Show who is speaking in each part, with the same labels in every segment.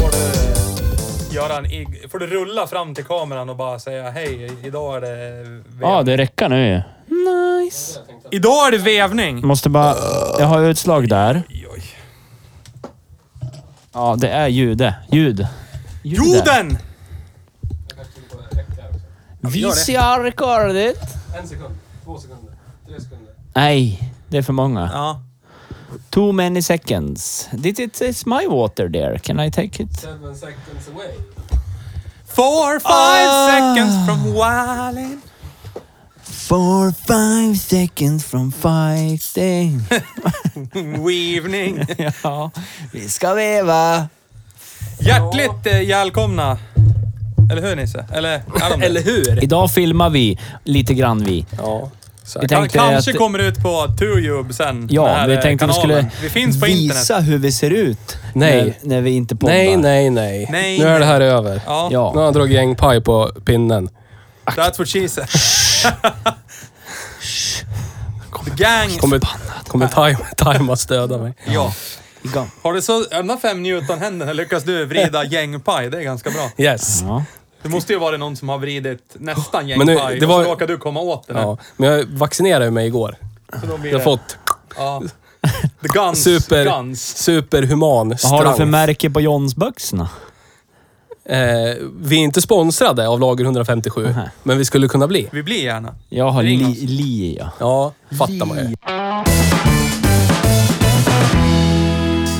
Speaker 1: Får du, göra en, ig- får du rulla fram till kameran och bara säga hej, idag är det... vev-
Speaker 2: Ja, det räcker nu ju. Nice.
Speaker 3: Idag är det vevning!
Speaker 2: Måste bara... Jag har utslag där. Ja, det är ljudet. Ljud. Ljudet.
Speaker 3: Jorden!
Speaker 2: VCR recorded.
Speaker 4: En sekund, två sekunder, tre sekunder.
Speaker 2: Nej, det är för många.
Speaker 3: Ja.
Speaker 2: Too many seconds. Did it taste my water there? Can I take it?
Speaker 4: Seven seconds away.
Speaker 3: Four, five
Speaker 2: Ah.
Speaker 3: seconds from wildin'.
Speaker 2: Four, five seconds from fighting.
Speaker 3: Weavning.
Speaker 2: ja, vi ska veva.
Speaker 3: Hjärtligt eh, välkomna. Eller hur Nisse? Eller,
Speaker 5: Eller hur?
Speaker 2: Idag filmar vi lite grann vi.
Speaker 5: Ja.
Speaker 2: Vi
Speaker 3: Kan,
Speaker 2: tänkte
Speaker 3: kanske
Speaker 2: att-
Speaker 3: kommer ut på Tube sen. den
Speaker 2: Ja,
Speaker 3: här,
Speaker 2: vi
Speaker 3: eh,
Speaker 2: tänkte vi
Speaker 3: kanalen.
Speaker 2: skulle
Speaker 3: Vi finns på
Speaker 2: visa
Speaker 3: internet.
Speaker 2: hur vi ser ut
Speaker 5: Nej.
Speaker 2: när, när vi inte poddar.
Speaker 5: Nej, nej, nej,
Speaker 3: Nej,
Speaker 5: Nu är det
Speaker 3: nej.
Speaker 5: här över.
Speaker 3: Ja,
Speaker 5: Nu har
Speaker 2: Ja.
Speaker 5: han dragit gängpaj på pinnen.
Speaker 3: that's what she said. The gang.
Speaker 5: Kommer, kommer time, time att stöda mig.
Speaker 3: Ja.
Speaker 2: Igång.
Speaker 3: Har du så ömma fem Newton-händerna lyckas du vrida gängpaj. Det är ganska bra. Mm.
Speaker 5: Yes.
Speaker 2: Ja.
Speaker 3: Det måste ju vara någon som har vridit nästan
Speaker 5: Men nu,
Speaker 3: gängpaj
Speaker 5: det
Speaker 3: och
Speaker 5: var-
Speaker 3: så råkar du komma åt den.
Speaker 5: Ja. Men jag vaccinerade mig igår.
Speaker 3: Så då blir
Speaker 5: Jag har
Speaker 3: det-
Speaker 5: fått
Speaker 3: Ja. The guns.
Speaker 5: super,
Speaker 3: Guns.
Speaker 5: superhuman
Speaker 2: Vad har du för
Speaker 5: strength.
Speaker 2: märke på Johnsbuxorna?
Speaker 5: Eh, vi är inte sponsrade av Lager 157,
Speaker 2: Mhm.
Speaker 5: men vi skulle kunna bli.
Speaker 3: Vi blir gärna.
Speaker 2: Jag har
Speaker 3: Ring
Speaker 2: li,
Speaker 3: oss.
Speaker 2: li ja.
Speaker 5: Ja, fattar man ju.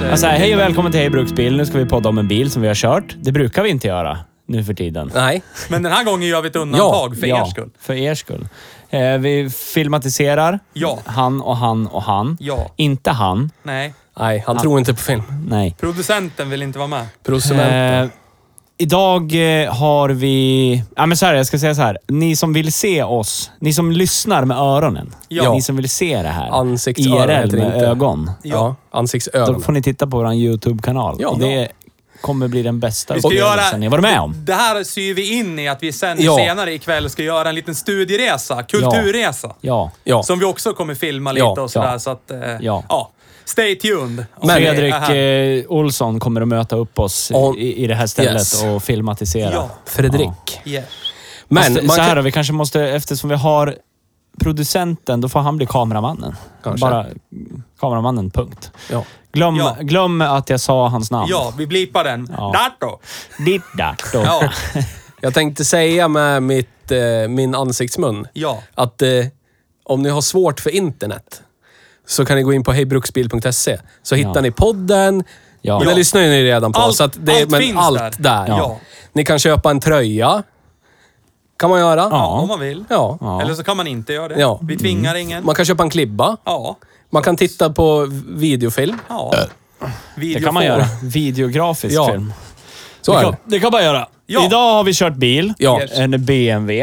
Speaker 2: Jag
Speaker 3: Alltså,
Speaker 2: säger hej och välkommen till Hej Bruksbil. Nu ska vi podda om en bil som vi har kört. Det brukar vi inte göra nu för tiden.
Speaker 5: Nej.
Speaker 3: Men den här gången gör vi ett undantag för
Speaker 2: ja,
Speaker 3: er skull.
Speaker 2: för er skull. Eh, vi filmatiserar.
Speaker 3: Ja.
Speaker 2: Han och han och han.
Speaker 3: Ja.
Speaker 2: Inte han.
Speaker 3: Nej.
Speaker 5: Nej, han tror inte på film.
Speaker 2: Nej.
Speaker 3: Producenten vill inte vara med.
Speaker 5: Producenten.
Speaker 2: Eh, idag eh, har vi... Ja, men så här, jag ska säga så här. Ni som vill se oss, ni som lyssnar med öronen.
Speaker 3: Ja.
Speaker 2: Ni som vill se det här.
Speaker 5: Ansiktsöron
Speaker 2: IRL
Speaker 5: heter det
Speaker 2: med
Speaker 5: inte.
Speaker 2: ögon.
Speaker 5: ja.
Speaker 2: Då
Speaker 5: Ansiktsöron.
Speaker 2: får ni titta på vår YouTube-kanal.
Speaker 5: Ja.
Speaker 2: Och det kommer bli den bästa
Speaker 3: Vi ska göra-
Speaker 2: upplevelsen ni har varit med om.
Speaker 3: Det här syr vi in i att vi sen
Speaker 5: Ja.
Speaker 3: senare ikväll ska göra en liten studieresa, kulturresa.
Speaker 2: Ja.
Speaker 5: Ja.
Speaker 3: Som vi också kommer filma lite
Speaker 5: Ja,
Speaker 3: och sådär.
Speaker 2: ja.
Speaker 3: Så att, eh, ja.
Speaker 2: Ja.
Speaker 3: Stay tuned. Och
Speaker 5: Men-
Speaker 3: vi är
Speaker 2: Fredrik
Speaker 3: här.
Speaker 2: eh, Olsson kommer att möta upp oss
Speaker 5: Och-
Speaker 2: i, i det här stället
Speaker 5: Yes.
Speaker 2: och filmatisera.
Speaker 3: Ja.
Speaker 5: Fredrik.
Speaker 3: Yeah.
Speaker 5: Men
Speaker 2: Fast,
Speaker 5: man
Speaker 2: Alltså, så här
Speaker 5: kan...
Speaker 2: då, vi kanske måste, eftersom vi har producenten, då får han bli kameramannen.
Speaker 5: Kanske.
Speaker 2: Bara kameramannen, punkt.
Speaker 5: Ja.
Speaker 2: Glöm,
Speaker 3: Ja.
Speaker 2: glöm att jag sa hans namn.
Speaker 3: ja, vi blipar den.
Speaker 2: Ja.
Speaker 3: Dato.
Speaker 2: Ditt dack då.
Speaker 3: Ja.
Speaker 5: Jag tänkte säga med mitt, eh, min ansiktsmun
Speaker 3: ja.
Speaker 5: att eh, om ni har svårt för internet så kan ni gå in på hejbruksbil.se så hittar
Speaker 2: Ja.
Speaker 5: ni podden.
Speaker 2: Ja.
Speaker 5: Men det
Speaker 2: Ja.
Speaker 5: lyssnar ju ni redan på.
Speaker 3: Allt-
Speaker 5: så att det,
Speaker 3: allt
Speaker 5: men
Speaker 3: finns
Speaker 5: allt
Speaker 3: där.
Speaker 5: där.
Speaker 3: Ja.
Speaker 5: Ni kan köpa en tröja. Kan man göra.
Speaker 3: ja, om man vill.
Speaker 5: Ja.
Speaker 2: Ja.
Speaker 3: Eller så kan man inte göra det.
Speaker 5: Ja.
Speaker 3: Vi tvingar ingen.
Speaker 5: Man kan köpa en klibba.
Speaker 3: Ja.
Speaker 5: Man kan titta på videofilm.
Speaker 3: ja.
Speaker 2: Det kan man göra. Videografisk
Speaker 5: Ja.
Speaker 2: film.
Speaker 5: Så är
Speaker 2: det, kan,
Speaker 5: det.
Speaker 2: det kan man göra.
Speaker 3: Ja.
Speaker 2: Idag har vi kört bil.
Speaker 5: Ja.
Speaker 2: En BMW.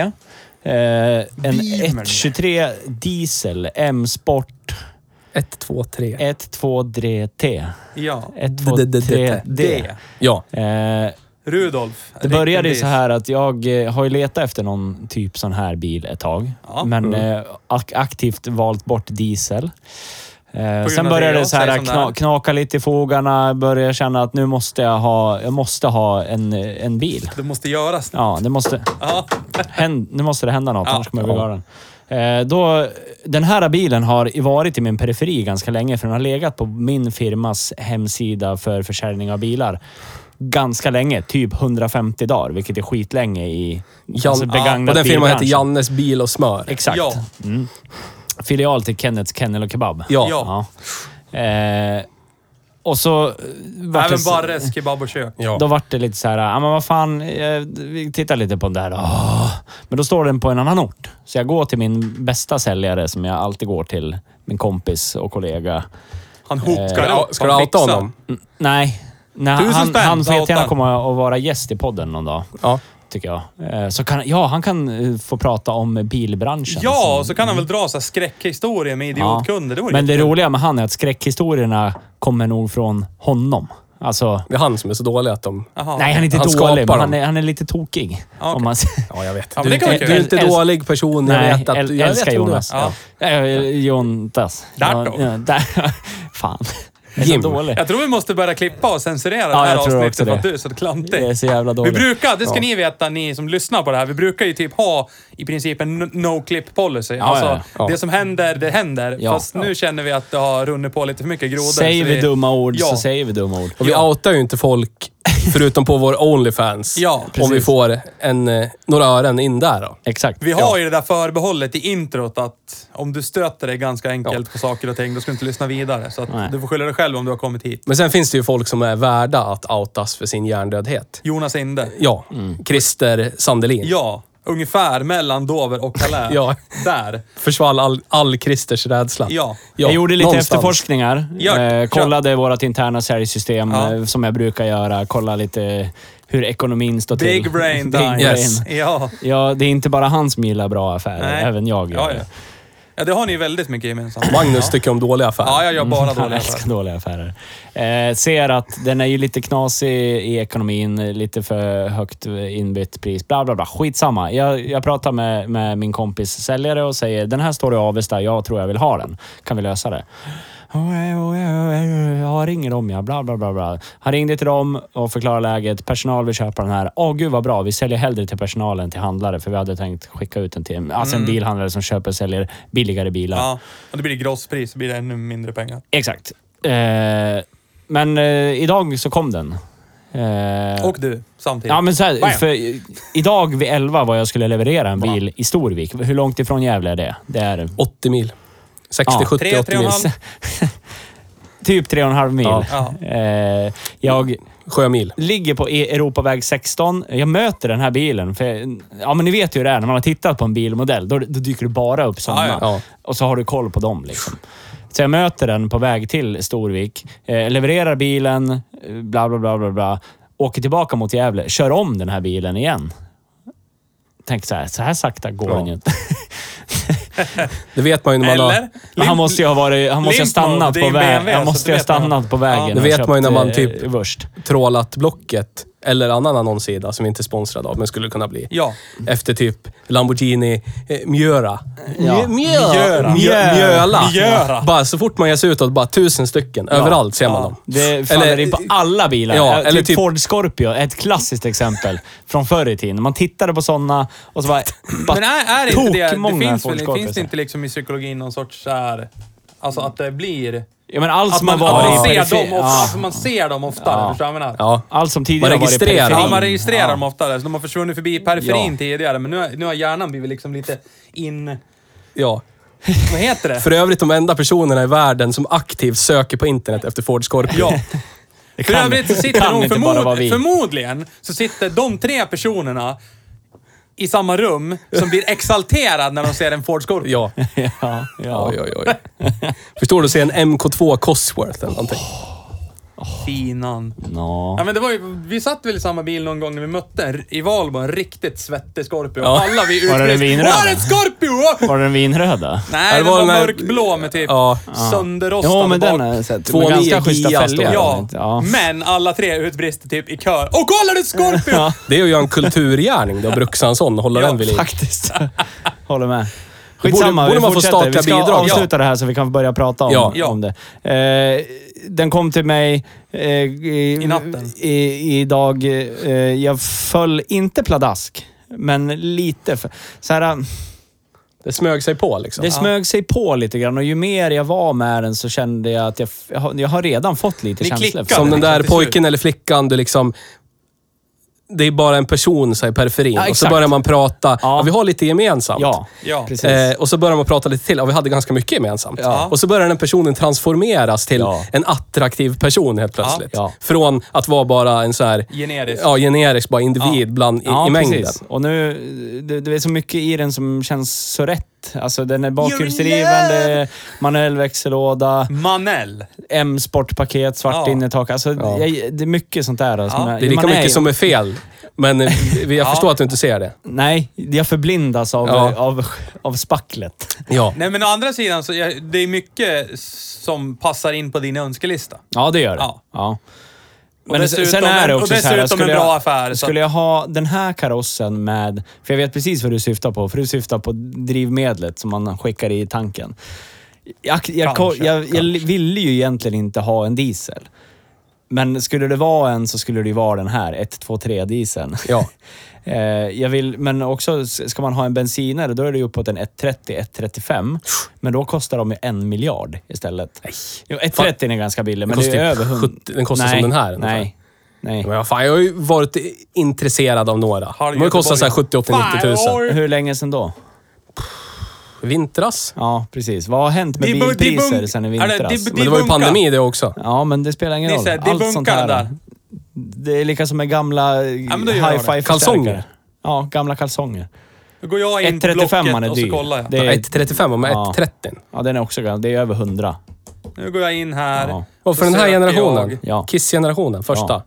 Speaker 2: Eh, en
Speaker 3: Beamer.
Speaker 2: 123 diesel M-sport
Speaker 5: Ett, två, tre.
Speaker 2: 123T.
Speaker 3: Ja.
Speaker 2: 123D.
Speaker 3: Det.
Speaker 5: Ja.
Speaker 2: Eh,
Speaker 3: Rudolf.
Speaker 2: Det började ju
Speaker 3: Riktigt.
Speaker 2: så här att jag eh, har ju letat efter någon typ sån här bil ett tag.
Speaker 3: Ja. Mm.
Speaker 2: Men eh, ak- aktivt valt bort diesel. Eh,
Speaker 3: av
Speaker 2: sen
Speaker 3: det
Speaker 2: började det
Speaker 3: jag
Speaker 2: så här
Speaker 3: säger som det
Speaker 2: kna,
Speaker 3: är.
Speaker 2: knaka lite i fogarna. Började känna att nu måste jag ha, jag måste ha en, eh, en bil.
Speaker 3: Det måste göras. Ja.
Speaker 2: Ja, det måste, hän, nu måste det hända något,
Speaker 3: Ja.
Speaker 2: annars kommer jag bli galen. Eh, då, den här bilen har varit i min periferi ganska länge, för den har legat på min firmas hemsida för försäljning av bilar ganska länge. Typ 150 dagar, vilket är skitlänge i
Speaker 5: Jan...
Speaker 2: alltså, begagnad
Speaker 5: och den firman
Speaker 2: bilbransch.
Speaker 5: heter Jannes Bil och Smör.
Speaker 2: Exakt.
Speaker 3: Ja.
Speaker 2: Mm. Filial till Kennets Kennel och Kebab.
Speaker 5: Ja.
Speaker 3: Ja.
Speaker 2: Eh, och så... eh, vart
Speaker 3: Även
Speaker 2: det-
Speaker 3: Barres kebab och kök.
Speaker 5: Ja.
Speaker 2: Då vart det lite så här, ja men vad fan, eh, vi tittar lite på den där. Åh. Ah. Men då står den på en annan ort. Så jag går till min bästa säljare som jag alltid går till. Min kompis och kollega.
Speaker 3: Han hookar
Speaker 5: Ska
Speaker 3: upp.
Speaker 5: du, Eh, ska du
Speaker 3: han
Speaker 5: outa
Speaker 3: fixar.
Speaker 5: honom?
Speaker 2: Mm, nej, nej
Speaker 3: Tusen
Speaker 2: han,
Speaker 3: spänn,
Speaker 2: han får jättegärna
Speaker 3: satan.
Speaker 2: komma och vara gäst i podden någon dag.
Speaker 5: Ja.
Speaker 2: Tycker jag. Eh, Så kan, ja, han kan eh, få prata om bilbranschen.
Speaker 3: Ja, och så kan han väl dra så här skräckhistorier med
Speaker 2: Ja.
Speaker 3: idiotkunder. Det vore
Speaker 2: Men det
Speaker 3: jättekul.
Speaker 2: roliga med han är att skräckhistorierna kommer nog från honom. Alltså,
Speaker 5: Det är han som är så dålig att de...
Speaker 3: Jaha.
Speaker 2: nej han är inte
Speaker 5: Han skapar
Speaker 2: dålig, men han
Speaker 5: dem.
Speaker 2: är, han är lite tokig.
Speaker 3: Ja,
Speaker 2: Om man, säger-
Speaker 5: Ja, jag vet.
Speaker 3: Ja, men
Speaker 5: du,
Speaker 3: det
Speaker 5: är
Speaker 3: kan vara
Speaker 5: inte- du är
Speaker 3: kul.
Speaker 5: inte
Speaker 2: Älsk-
Speaker 5: dålig person.
Speaker 2: Nej,
Speaker 5: jag vet att,
Speaker 2: äl-
Speaker 5: jag
Speaker 2: älskar
Speaker 5: vet vem du är.
Speaker 2: Jonas.
Speaker 3: Ja.
Speaker 2: Eh, Jontas.
Speaker 3: Där
Speaker 2: Ja,
Speaker 3: då.
Speaker 2: ja, där. Fan. Jag är
Speaker 5: Jim.
Speaker 2: så dålig.
Speaker 3: Jag tror vi måste börja klippa och censurera det
Speaker 2: Ja,
Speaker 3: här
Speaker 2: jag tror
Speaker 3: avsnittet för
Speaker 2: också det.
Speaker 3: att du är så klantig.
Speaker 2: Jag är så jävla
Speaker 3: Vi
Speaker 2: dålig.
Speaker 3: brukar, det ska
Speaker 5: Ja.
Speaker 3: ni veta ni som lyssnar på det här, vi brukar ju typ ha i princip en no- no-clip policy. alltså,
Speaker 2: ja,
Speaker 5: ja.
Speaker 3: det som händer, det händer.
Speaker 2: Ja.
Speaker 3: Fast nu känner vi att det har runnit på lite för mycket grodor.
Speaker 2: Säger
Speaker 3: så
Speaker 2: vi dumma ord
Speaker 3: Ja.
Speaker 2: så säger vi dumma ord.
Speaker 5: Och vi outar ju inte folk, förutom på vår Onlyfans.
Speaker 3: Ja,
Speaker 5: om vi
Speaker 3: precis.
Speaker 5: får en, eh, några ören in där då.
Speaker 2: Exakt.
Speaker 3: Vi har ju det där förbehållet i introt att om du stöter dig ganska enkelt på saker och ting, då ska du inte lyssna vidare. Så att
Speaker 2: Nej.
Speaker 3: du får skylla dig själv om du har kommit hit.
Speaker 5: Men sen finns det ju folk som är värda att outas för sin hjärndödhet.
Speaker 3: Jonas Inde.
Speaker 5: Ja,
Speaker 2: Mm.
Speaker 5: Christer Sandelin.
Speaker 3: Ja, ungefär mellan Dover och Calais.
Speaker 5: Ja.
Speaker 3: Där.
Speaker 5: Försvall all, all Christers rädsla.
Speaker 3: Ja.
Speaker 2: jag gjorde lite
Speaker 5: någonstans.
Speaker 2: efterforskningar.
Speaker 3: Gör-
Speaker 2: eh, kollade vårt interna säljsystem
Speaker 3: Ja.
Speaker 2: eh, som jag brukar göra. Kolla lite hur ekonomin står till.
Speaker 3: Big brain
Speaker 2: Big
Speaker 3: time.
Speaker 5: Yes.
Speaker 3: Ja.
Speaker 2: Ja, det är inte bara han som gillar bra affärer.
Speaker 3: Nej.
Speaker 2: Även jag gör
Speaker 3: Ja, ja.
Speaker 2: det.
Speaker 3: ja, det har ni väldigt mycket gemensamt.
Speaker 5: Magnus
Speaker 3: ja.
Speaker 5: tycker om dåliga affärer.
Speaker 3: Ja, jag gör bara
Speaker 2: Han
Speaker 3: dåliga affärer.
Speaker 2: Mm. älskar dåliga affärer. Eh, ser att den är ju lite knasig i ekonomin, eh, lite för högt inbytt pris, bla bla bla. Skitsamma. Jag, jag pratar med, med min kompis säljare och säger den här står i Avesta, jag tror jag vill ha den. Kan vi lösa det? Jag ringer dem ja, bla bla bla. bla. Han ringde till dem och förklarade läget. Personal vill köpa den här. Åh gud vad bra, vi säljer hellre till personalen än till handlare för vi hade tänkt skicka ut den till alltså
Speaker 3: Mm.
Speaker 2: en bilhandlare som köper och säljer billigare bilar.
Speaker 3: Ja, och det blir grosspris, så blir det ännu mindre pengar.
Speaker 2: Exakt. Eh, men eh, idag så kom den. Eh,
Speaker 3: Och du, samtidigt.
Speaker 2: Ja, men så här,
Speaker 3: Bam.
Speaker 2: för, eh, idag vid 11 var jag skulle leverera en bil i Storvik. Hur långt ifrån Gävle är det? Det är
Speaker 5: 80 mil. 60,
Speaker 2: Ja.
Speaker 5: 70,
Speaker 3: Tre,
Speaker 5: 80
Speaker 3: tre och en
Speaker 5: mil.
Speaker 3: halv.
Speaker 2: typ 3,5 mil.
Speaker 5: Ja.
Speaker 3: Ja.
Speaker 2: Eh, jag
Speaker 5: Sjömil.
Speaker 2: ligger på E- Europaväg 16. Jag möter den här bilen. För, jag- ja, men ni vet ju hur det är. När man har tittat på en bilmodell, då, då dyker det bara upp sådana.
Speaker 3: Ja,
Speaker 5: ja.
Speaker 2: Och så har du koll på dem. Liksom. Så jag möter den på väg till Storvik, eh, levererar bilen, eh, bla, bla, bla, bla, bla. Åker tillbaka mot Gävle, kör om den här bilen igen. Tänk så här, så här sakta går
Speaker 5: Ja.
Speaker 2: den ju inte.
Speaker 5: Det vet man ju när man har...
Speaker 3: Eller?
Speaker 2: Men Han
Speaker 3: Lim-
Speaker 2: måste ju ha varit, han måste ju ha
Speaker 3: Lindblom,
Speaker 2: stannat
Speaker 3: det är
Speaker 2: på
Speaker 3: en
Speaker 2: vägen.
Speaker 3: BMW,
Speaker 2: Han
Speaker 3: så
Speaker 2: måste
Speaker 3: det
Speaker 2: ju ha
Speaker 3: vet man.
Speaker 2: stannat på vägen.
Speaker 3: Ja.
Speaker 5: Det
Speaker 2: och
Speaker 5: vet man ju när
Speaker 2: köpt,
Speaker 5: man
Speaker 2: eh,
Speaker 5: typ-
Speaker 2: Vurst.
Speaker 5: trålat Blocket eller annan annonssida som vi inte är sponsrade av, men skulle kunna bli.
Speaker 3: Ja.
Speaker 5: Efter typ Lamborghini eh, Mjöra.
Speaker 2: Ja.
Speaker 5: Mjö- Mjöla.
Speaker 3: Mjöra.
Speaker 5: Mjö- Mjöla.
Speaker 3: Mjöra.
Speaker 5: Bara så fort man ger sig utåt, bara tusen stycken. Överallt ser man dem.
Speaker 2: Det faller
Speaker 5: Eller-
Speaker 2: in på alla bilar.
Speaker 5: Ja,
Speaker 2: Eh,
Speaker 5: eller
Speaker 2: typ,
Speaker 5: typ-
Speaker 2: Ford Scorpio är ett klassiskt exempel från förr i tiden. Man tittade på sådana och så bara... bara
Speaker 3: Men är, är det inte det, det
Speaker 2: tokmånga
Speaker 3: finns,
Speaker 2: Ford
Speaker 3: väl,
Speaker 2: Scorpio,
Speaker 3: finns det inte liksom i psykologin någon sorts så här, Alltså att det blir...
Speaker 2: Ja, men allt
Speaker 3: Att
Speaker 2: som har
Speaker 3: man, att
Speaker 2: varit
Speaker 3: man,
Speaker 2: i
Speaker 3: ser,
Speaker 2: perifer-
Speaker 3: dem ofta,
Speaker 2: Ja.
Speaker 3: alltså man ser dem oftare.
Speaker 2: Ja.
Speaker 3: Förstår du vad jag menar?
Speaker 5: Ja.
Speaker 2: Allt som tidigare
Speaker 5: Man
Speaker 2: har varit i
Speaker 5: registrerar.
Speaker 2: periferin.
Speaker 3: Ja, man registrerar dem oftare. Så de har försvunnit förbi periferin tidigare, men nu, har- nu har hjärnan blivit liksom lite in...
Speaker 5: ja.
Speaker 3: Vad heter det?
Speaker 5: För övrigt de enda personerna i världen som aktivt söker på internet efter Ford Scorpio.
Speaker 3: Ja.
Speaker 2: Det
Speaker 3: För
Speaker 2: kan,
Speaker 3: övrigt så
Speaker 2: det
Speaker 3: sitter
Speaker 2: kan
Speaker 3: nog
Speaker 2: inte bara vara vi.
Speaker 3: förmod, förmodligen så sitter de tre personerna i samma rum som blir exalterad när de ser en Ford Scorpio.
Speaker 5: Ja.
Speaker 2: ja, ja.
Speaker 5: Oj, oj, oj. Förstår du? Se en MK2 Cosworth eller någonting.
Speaker 3: Finan.
Speaker 2: Nå.
Speaker 3: Ja, men det var ju, vi satt väl i samma bil någon gång när vi mötte en, i Valbo en riktigt svettig Scorpio.
Speaker 5: Ja.
Speaker 3: Alla vi
Speaker 2: Var det den
Speaker 3: utlyste
Speaker 2: vinröda?
Speaker 3: Var det en Scorpio?
Speaker 2: Var den vinröda?
Speaker 3: Nej,
Speaker 5: det
Speaker 3: det
Speaker 5: var
Speaker 3: var
Speaker 5: den här-
Speaker 3: mörkblå med typ
Speaker 5: Ja.
Speaker 3: sönderrostade
Speaker 2: Ja, men den
Speaker 3: bak.
Speaker 2: har jag sett.
Speaker 5: Två
Speaker 2: Med ganska
Speaker 5: nio
Speaker 2: schyssta
Speaker 5: Gia står
Speaker 2: fälgar.
Speaker 5: det.
Speaker 3: Ja,
Speaker 2: ja. Mm,
Speaker 3: men alla tre utbrister typ i kör. Åh, kolla det är ett Scorpio!
Speaker 5: Det är ju en kulturgärning då, Brukshansson, och hålla
Speaker 3: Ja,
Speaker 5: den vid liv.
Speaker 2: Faktiskt. Håller med. Skitsamma,
Speaker 5: borde
Speaker 2: vi
Speaker 5: man få
Speaker 2: fortsätter.
Speaker 5: statliga
Speaker 2: vi ska
Speaker 5: bidrag.
Speaker 2: avsluta det här så vi kan börja prata om,
Speaker 5: Ja.
Speaker 3: Ja.
Speaker 2: om det. Eh, den kom till mig eh, i,
Speaker 3: I natten.
Speaker 2: I, idag. Eh, jag föll inte pladask, men lite. För, så här,
Speaker 5: Det smög sig på liksom.
Speaker 2: det smög sig på lite grann och ju mer jag var med den så kände jag att jag, f- jag, har, jag har redan fått lite
Speaker 3: Ni
Speaker 2: känslor.
Speaker 3: klickade.
Speaker 5: Som
Speaker 3: Ja,
Speaker 5: den
Speaker 3: det
Speaker 5: där
Speaker 3: kan till
Speaker 5: pojken eller flickan du liksom det är bara en person så här, i periferin.
Speaker 2: Ja,
Speaker 5: och så
Speaker 2: exakt.
Speaker 5: börjar man prata. Ja.
Speaker 2: Ja.
Speaker 5: vi har lite gemensamt.
Speaker 2: Ja,
Speaker 3: Ja.
Speaker 2: precis.
Speaker 5: Eh, och så börjar man prata lite till. Ja, vi hade ganska mycket gemensamt.
Speaker 2: Ja.
Speaker 5: Och så börjar den personen transformeras till
Speaker 2: Ja.
Speaker 5: en attraktiv person helt plötsligt.
Speaker 2: Ja.
Speaker 5: Från att vara bara en så här...
Speaker 3: Generisk.
Speaker 5: Ja, generisk bara individ bland, i,
Speaker 2: ja,
Speaker 5: i mängden.
Speaker 2: precis. Och nu, det, det är så mycket i den som känns så rätt. Alltså den
Speaker 3: You're
Speaker 2: är
Speaker 3: in
Speaker 2: bakhjulsdriven,
Speaker 3: love!
Speaker 2: det är manuell växellåda,
Speaker 3: Manell.
Speaker 2: M-sportpaket, svart
Speaker 3: Ja.
Speaker 2: innertak. Alltså,
Speaker 5: Ja.
Speaker 2: jag, det är mycket sånt där. Alltså,
Speaker 3: Ja,
Speaker 2: man-
Speaker 5: Det är lika
Speaker 2: man
Speaker 5: mycket som är fel. Men eh, vi- jag
Speaker 3: Ja.
Speaker 5: förstår att du inte ser det.
Speaker 2: Nej, jag förblindas av,
Speaker 5: Ja.
Speaker 2: av, av spacklet.
Speaker 5: Ja.
Speaker 3: Nej, men å andra sidan så jag, det är mycket som passar in på din önskelista.
Speaker 2: Ja, det gör det.
Speaker 3: Ja.
Speaker 2: Ja.
Speaker 3: Och
Speaker 2: Men
Speaker 3: dessutom
Speaker 2: sen är det
Speaker 3: en- och
Speaker 2: också så här,
Speaker 3: dessutom
Speaker 2: skulle
Speaker 3: en bra
Speaker 2: jag,
Speaker 3: affär, så
Speaker 2: Skulle jag ha den här karossen med... För jag vet precis vad du syftar på. För du syftar på drivmedlet som man skickar i tanken. Jag, jag,
Speaker 3: Kanske,
Speaker 2: jag, jag ville ju egentligen inte ha en diesel. Men skulle det vara en så skulle det ju vara den här, 123 dieseln.
Speaker 5: Ja.
Speaker 2: Eh, jag vill, men också, s- ska man ha en bensinare, då är det ju uppåt en 130-135. Men då kostar de ju en miljard istället. Jo, 130 är ganska billig, men
Speaker 5: kostar
Speaker 2: det är
Speaker 5: ju
Speaker 2: över 100.
Speaker 5: 70 den kostar som den här ungefär.
Speaker 2: Nej. Nej.
Speaker 5: Men ja, fan, jag har ju varit intresserad av några. De har ju kostat så här 70 80 90 tusen.
Speaker 3: Fan,
Speaker 2: Hur länge sedan då?
Speaker 5: Vintras.
Speaker 2: Ja, precis. Vad har hänt med
Speaker 3: Debunk-
Speaker 2: bilpriser
Speaker 3: debunk-
Speaker 2: sedan i
Speaker 3: är det
Speaker 2: vintras?
Speaker 3: debunk-
Speaker 5: Men det var ju
Speaker 3: Debunka.
Speaker 5: pandemi det också.
Speaker 2: Ja, men det spelar ingen roll.
Speaker 3: Nisse, debunka
Speaker 2: Allt sånt här.
Speaker 3: den där.
Speaker 2: Det är lika som med gamla eh,
Speaker 3: men då gör jag det.
Speaker 2: hi-fi-förstärkare.
Speaker 5: Kalsonger.
Speaker 2: Ja, gamla kalsonger.
Speaker 3: Då går jag in på
Speaker 2: 135 man
Speaker 3: Blocket
Speaker 2: är
Speaker 3: och så
Speaker 2: dyr.
Speaker 3: kollar jag.
Speaker 2: Det är,
Speaker 5: 1,35 och med
Speaker 2: Ja.
Speaker 5: 1,30.
Speaker 2: ja, den är också gammal. Det är över 100.
Speaker 3: Nu går jag in här.
Speaker 2: Ja.
Speaker 5: Och för
Speaker 3: Så
Speaker 5: den här
Speaker 3: söker
Speaker 5: generationen.
Speaker 3: jag.
Speaker 2: Ja.
Speaker 5: Kiss-generationen, första.
Speaker 2: Ja.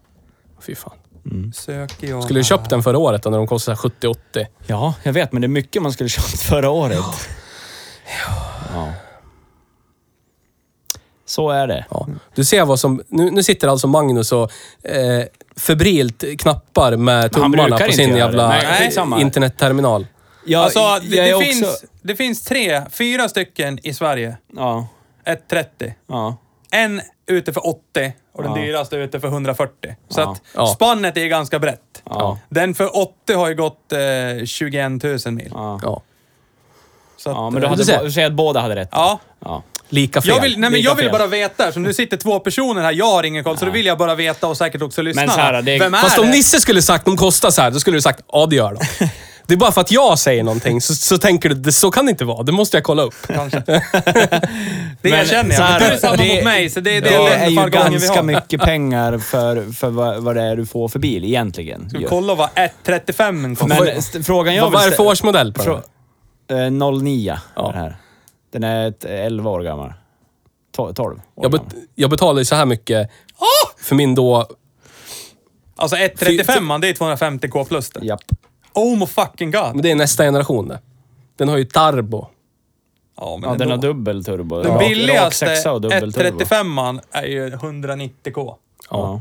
Speaker 5: Fy fan.
Speaker 2: Mm.
Speaker 3: Söker jag
Speaker 5: Skulle du
Speaker 3: här.
Speaker 5: köpt den förra året då, när de kostade 70-80?
Speaker 2: Ja, jag vet, men det är mycket man skulle köpt förra året. Ja. Så är det.
Speaker 5: Ja. Du ser vad som... Nu, nu sitter alltså Magnus och eh, febrilt knappar med
Speaker 2: han
Speaker 5: tummarna
Speaker 2: brukar
Speaker 5: på
Speaker 2: inte
Speaker 5: sin
Speaker 2: göra
Speaker 5: jävla
Speaker 2: det. Nej,
Speaker 5: eh,
Speaker 2: skitsamma.
Speaker 5: internetterminal.
Speaker 2: Jag,
Speaker 3: Alltså, det,
Speaker 2: jag är
Speaker 3: det,
Speaker 2: också-
Speaker 3: finns, det finns tre, fyra stycken i Sverige.
Speaker 2: Ja,
Speaker 3: 1,30.
Speaker 2: ja.
Speaker 3: En ute för 80 och den
Speaker 2: Ja.
Speaker 3: dyraste ute för 140. Så
Speaker 2: Ja.
Speaker 3: att
Speaker 5: Ja.
Speaker 3: spannet är ganska brett.
Speaker 2: Ja.
Speaker 3: Den för 80 har ju gått eh, 21 000 mil.
Speaker 2: Ja.
Speaker 5: Ja.
Speaker 3: Så att,
Speaker 2: Ja, men du
Speaker 3: eh,
Speaker 2: hade
Speaker 5: Du ser.
Speaker 2: bo- du säger att båda hade rätt.
Speaker 3: ja.
Speaker 2: Ja.
Speaker 5: Lika fel.
Speaker 3: Jag vill, nej, men
Speaker 2: Lika
Speaker 3: jag vill
Speaker 2: fel.
Speaker 3: bara veta, som nu sitter två personer här, jag har ingen koll, så då vill jag bara veta och säkert också lyssnarna.
Speaker 2: så här, det-
Speaker 3: Vem är
Speaker 5: Fast
Speaker 3: det?
Speaker 5: om Nisse skulle sagt de kostar så här, då skulle du sagt ja det gör de. Det är bara för att jag säger någonting så, så tänker du det, så kan det inte vara. Det måste jag kolla upp.
Speaker 3: Kanske. Det
Speaker 2: Men
Speaker 3: erkänner
Speaker 2: så
Speaker 3: jag.
Speaker 2: här,
Speaker 3: Men du är samma
Speaker 2: det-
Speaker 3: mot mig, så det, det,
Speaker 2: Det är
Speaker 3: den
Speaker 2: ju
Speaker 3: jargongen vi
Speaker 2: ganska
Speaker 3: har.
Speaker 2: mycket pengar för, för vad, vad det är du får för bil egentligen.
Speaker 3: Ska vi kolla vad 1,35 kostar?
Speaker 2: Men st- frågan jag
Speaker 5: Vad,
Speaker 2: vill
Speaker 5: vad är det för
Speaker 2: stä-
Speaker 5: årsmodell på den? här?
Speaker 2: Frå- eh, 09
Speaker 5: Ja.
Speaker 2: ja. den här. Den är ett, 11 år gammal. To- 12 år
Speaker 5: Jag,
Speaker 2: gammal.
Speaker 5: bet, jag betalar ju så här mycket
Speaker 3: Ah!
Speaker 5: för min då...
Speaker 3: Alltså 1,35 det är 250k plus det.
Speaker 2: Japp.
Speaker 3: Oh my fucking
Speaker 5: Men
Speaker 3: god.
Speaker 5: det är nästa generation det. Den har ju turbo.
Speaker 3: Ja, men
Speaker 2: Ja, den
Speaker 3: ändå.
Speaker 2: har dubbel turbo.
Speaker 3: Den
Speaker 2: Rak-
Speaker 3: billigaste
Speaker 2: rak sexa och dubbel turbo.
Speaker 3: 1,35 är ju 190k.
Speaker 2: Ja.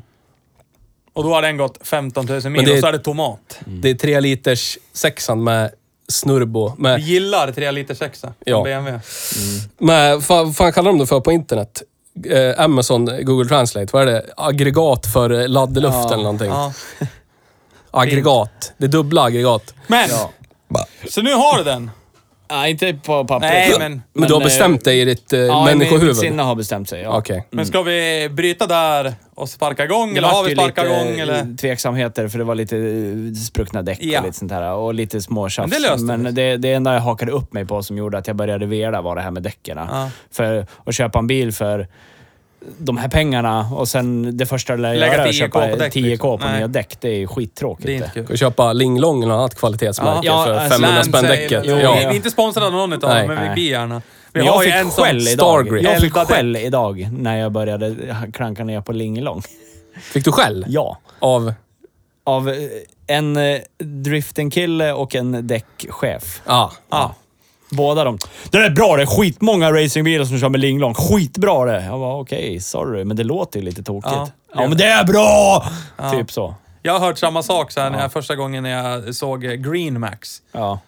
Speaker 3: Och då har den gått 15 000 mil
Speaker 5: det är-
Speaker 3: och så är det tomat.
Speaker 5: Det är tre liters sexan med snurbo.
Speaker 3: Vi
Speaker 5: Med,
Speaker 3: gillar 3 liter sexa
Speaker 5: Ja.
Speaker 3: ja. BMW.
Speaker 5: med vad fan kallar de det för på internet? Eh, Amazon, Google Translate, vad är det? Aggregat för eh, laddluft eller någonting.
Speaker 3: Ja.
Speaker 5: Aggregat. Det är dubbla aggregat.
Speaker 3: Men! Så nu har du den.
Speaker 2: Nej, inte på papper.
Speaker 3: Nej, men...
Speaker 5: Men, du har bestämt dig i ditt eh,
Speaker 2: ja,
Speaker 5: människohuvud?
Speaker 2: Mitt sinne har bestämt sig. Ja.
Speaker 5: Okej.
Speaker 3: Men ska vi bryta där och sparka igång?
Speaker 2: Det
Speaker 3: Eller har
Speaker 2: var
Speaker 3: vi
Speaker 2: ju
Speaker 3: sparkat
Speaker 2: lite eh,
Speaker 3: igång? Eller?
Speaker 2: tveksamheter för det var lite eh, spruckna däck
Speaker 3: Ja.
Speaker 2: och lite sånt här. Och lite småtjafs.
Speaker 3: Men det löste
Speaker 2: Men
Speaker 3: det.
Speaker 2: det, det enda jag hakade upp mig på som gjorde att jag började vela var det här med däcken.
Speaker 3: Ja.
Speaker 2: För att köpa en bil för de här pengarna och sen det första du lär
Speaker 3: Lägga
Speaker 2: göra är att
Speaker 3: 10K på
Speaker 2: köpa
Speaker 3: däck,
Speaker 2: 10K på
Speaker 3: liksom. Nej.
Speaker 2: nya däck. Det är ju skittråkigt.
Speaker 3: Det är inte kul.
Speaker 5: Ska köpa Linglong eller något annat kvalitetsmärke
Speaker 2: Ja,
Speaker 5: för
Speaker 2: alltså,
Speaker 5: 500
Speaker 3: Land
Speaker 5: spänn
Speaker 3: Saver.
Speaker 5: däcket?
Speaker 3: Jo,
Speaker 5: Ja.
Speaker 3: Vi vi är inte sponsrade av någon utav
Speaker 5: Nej.
Speaker 3: dem, men vi
Speaker 2: Nej.
Speaker 3: blir gärna. Vi
Speaker 2: Men
Speaker 3: har
Speaker 2: jag
Speaker 3: ju
Speaker 2: fick
Speaker 3: en sån
Speaker 2: skäll idag.
Speaker 5: Stargrid.
Speaker 2: Jag fick
Speaker 3: Elda däck.
Speaker 2: skäll idag när jag började klanka ner på Lingelång.
Speaker 5: Fick du skäll?
Speaker 2: Ja.
Speaker 5: Av...
Speaker 2: Av eh, en eh, driftenkille och en däckchef.
Speaker 5: Ja.
Speaker 3: Ja.
Speaker 2: Båda de. Det där är bra det. är Skitmånga racingbilar som kör med linglong. Skitbra det. Jag bara, okej, sorry. Men det låter ju lite tokigt.
Speaker 3: Ja.
Speaker 2: Ja, men det är bra! Typ så.
Speaker 3: Jag har hört samma sak så här, när jag, första gången när jag såg eh, Green Max.
Speaker 2: Ja.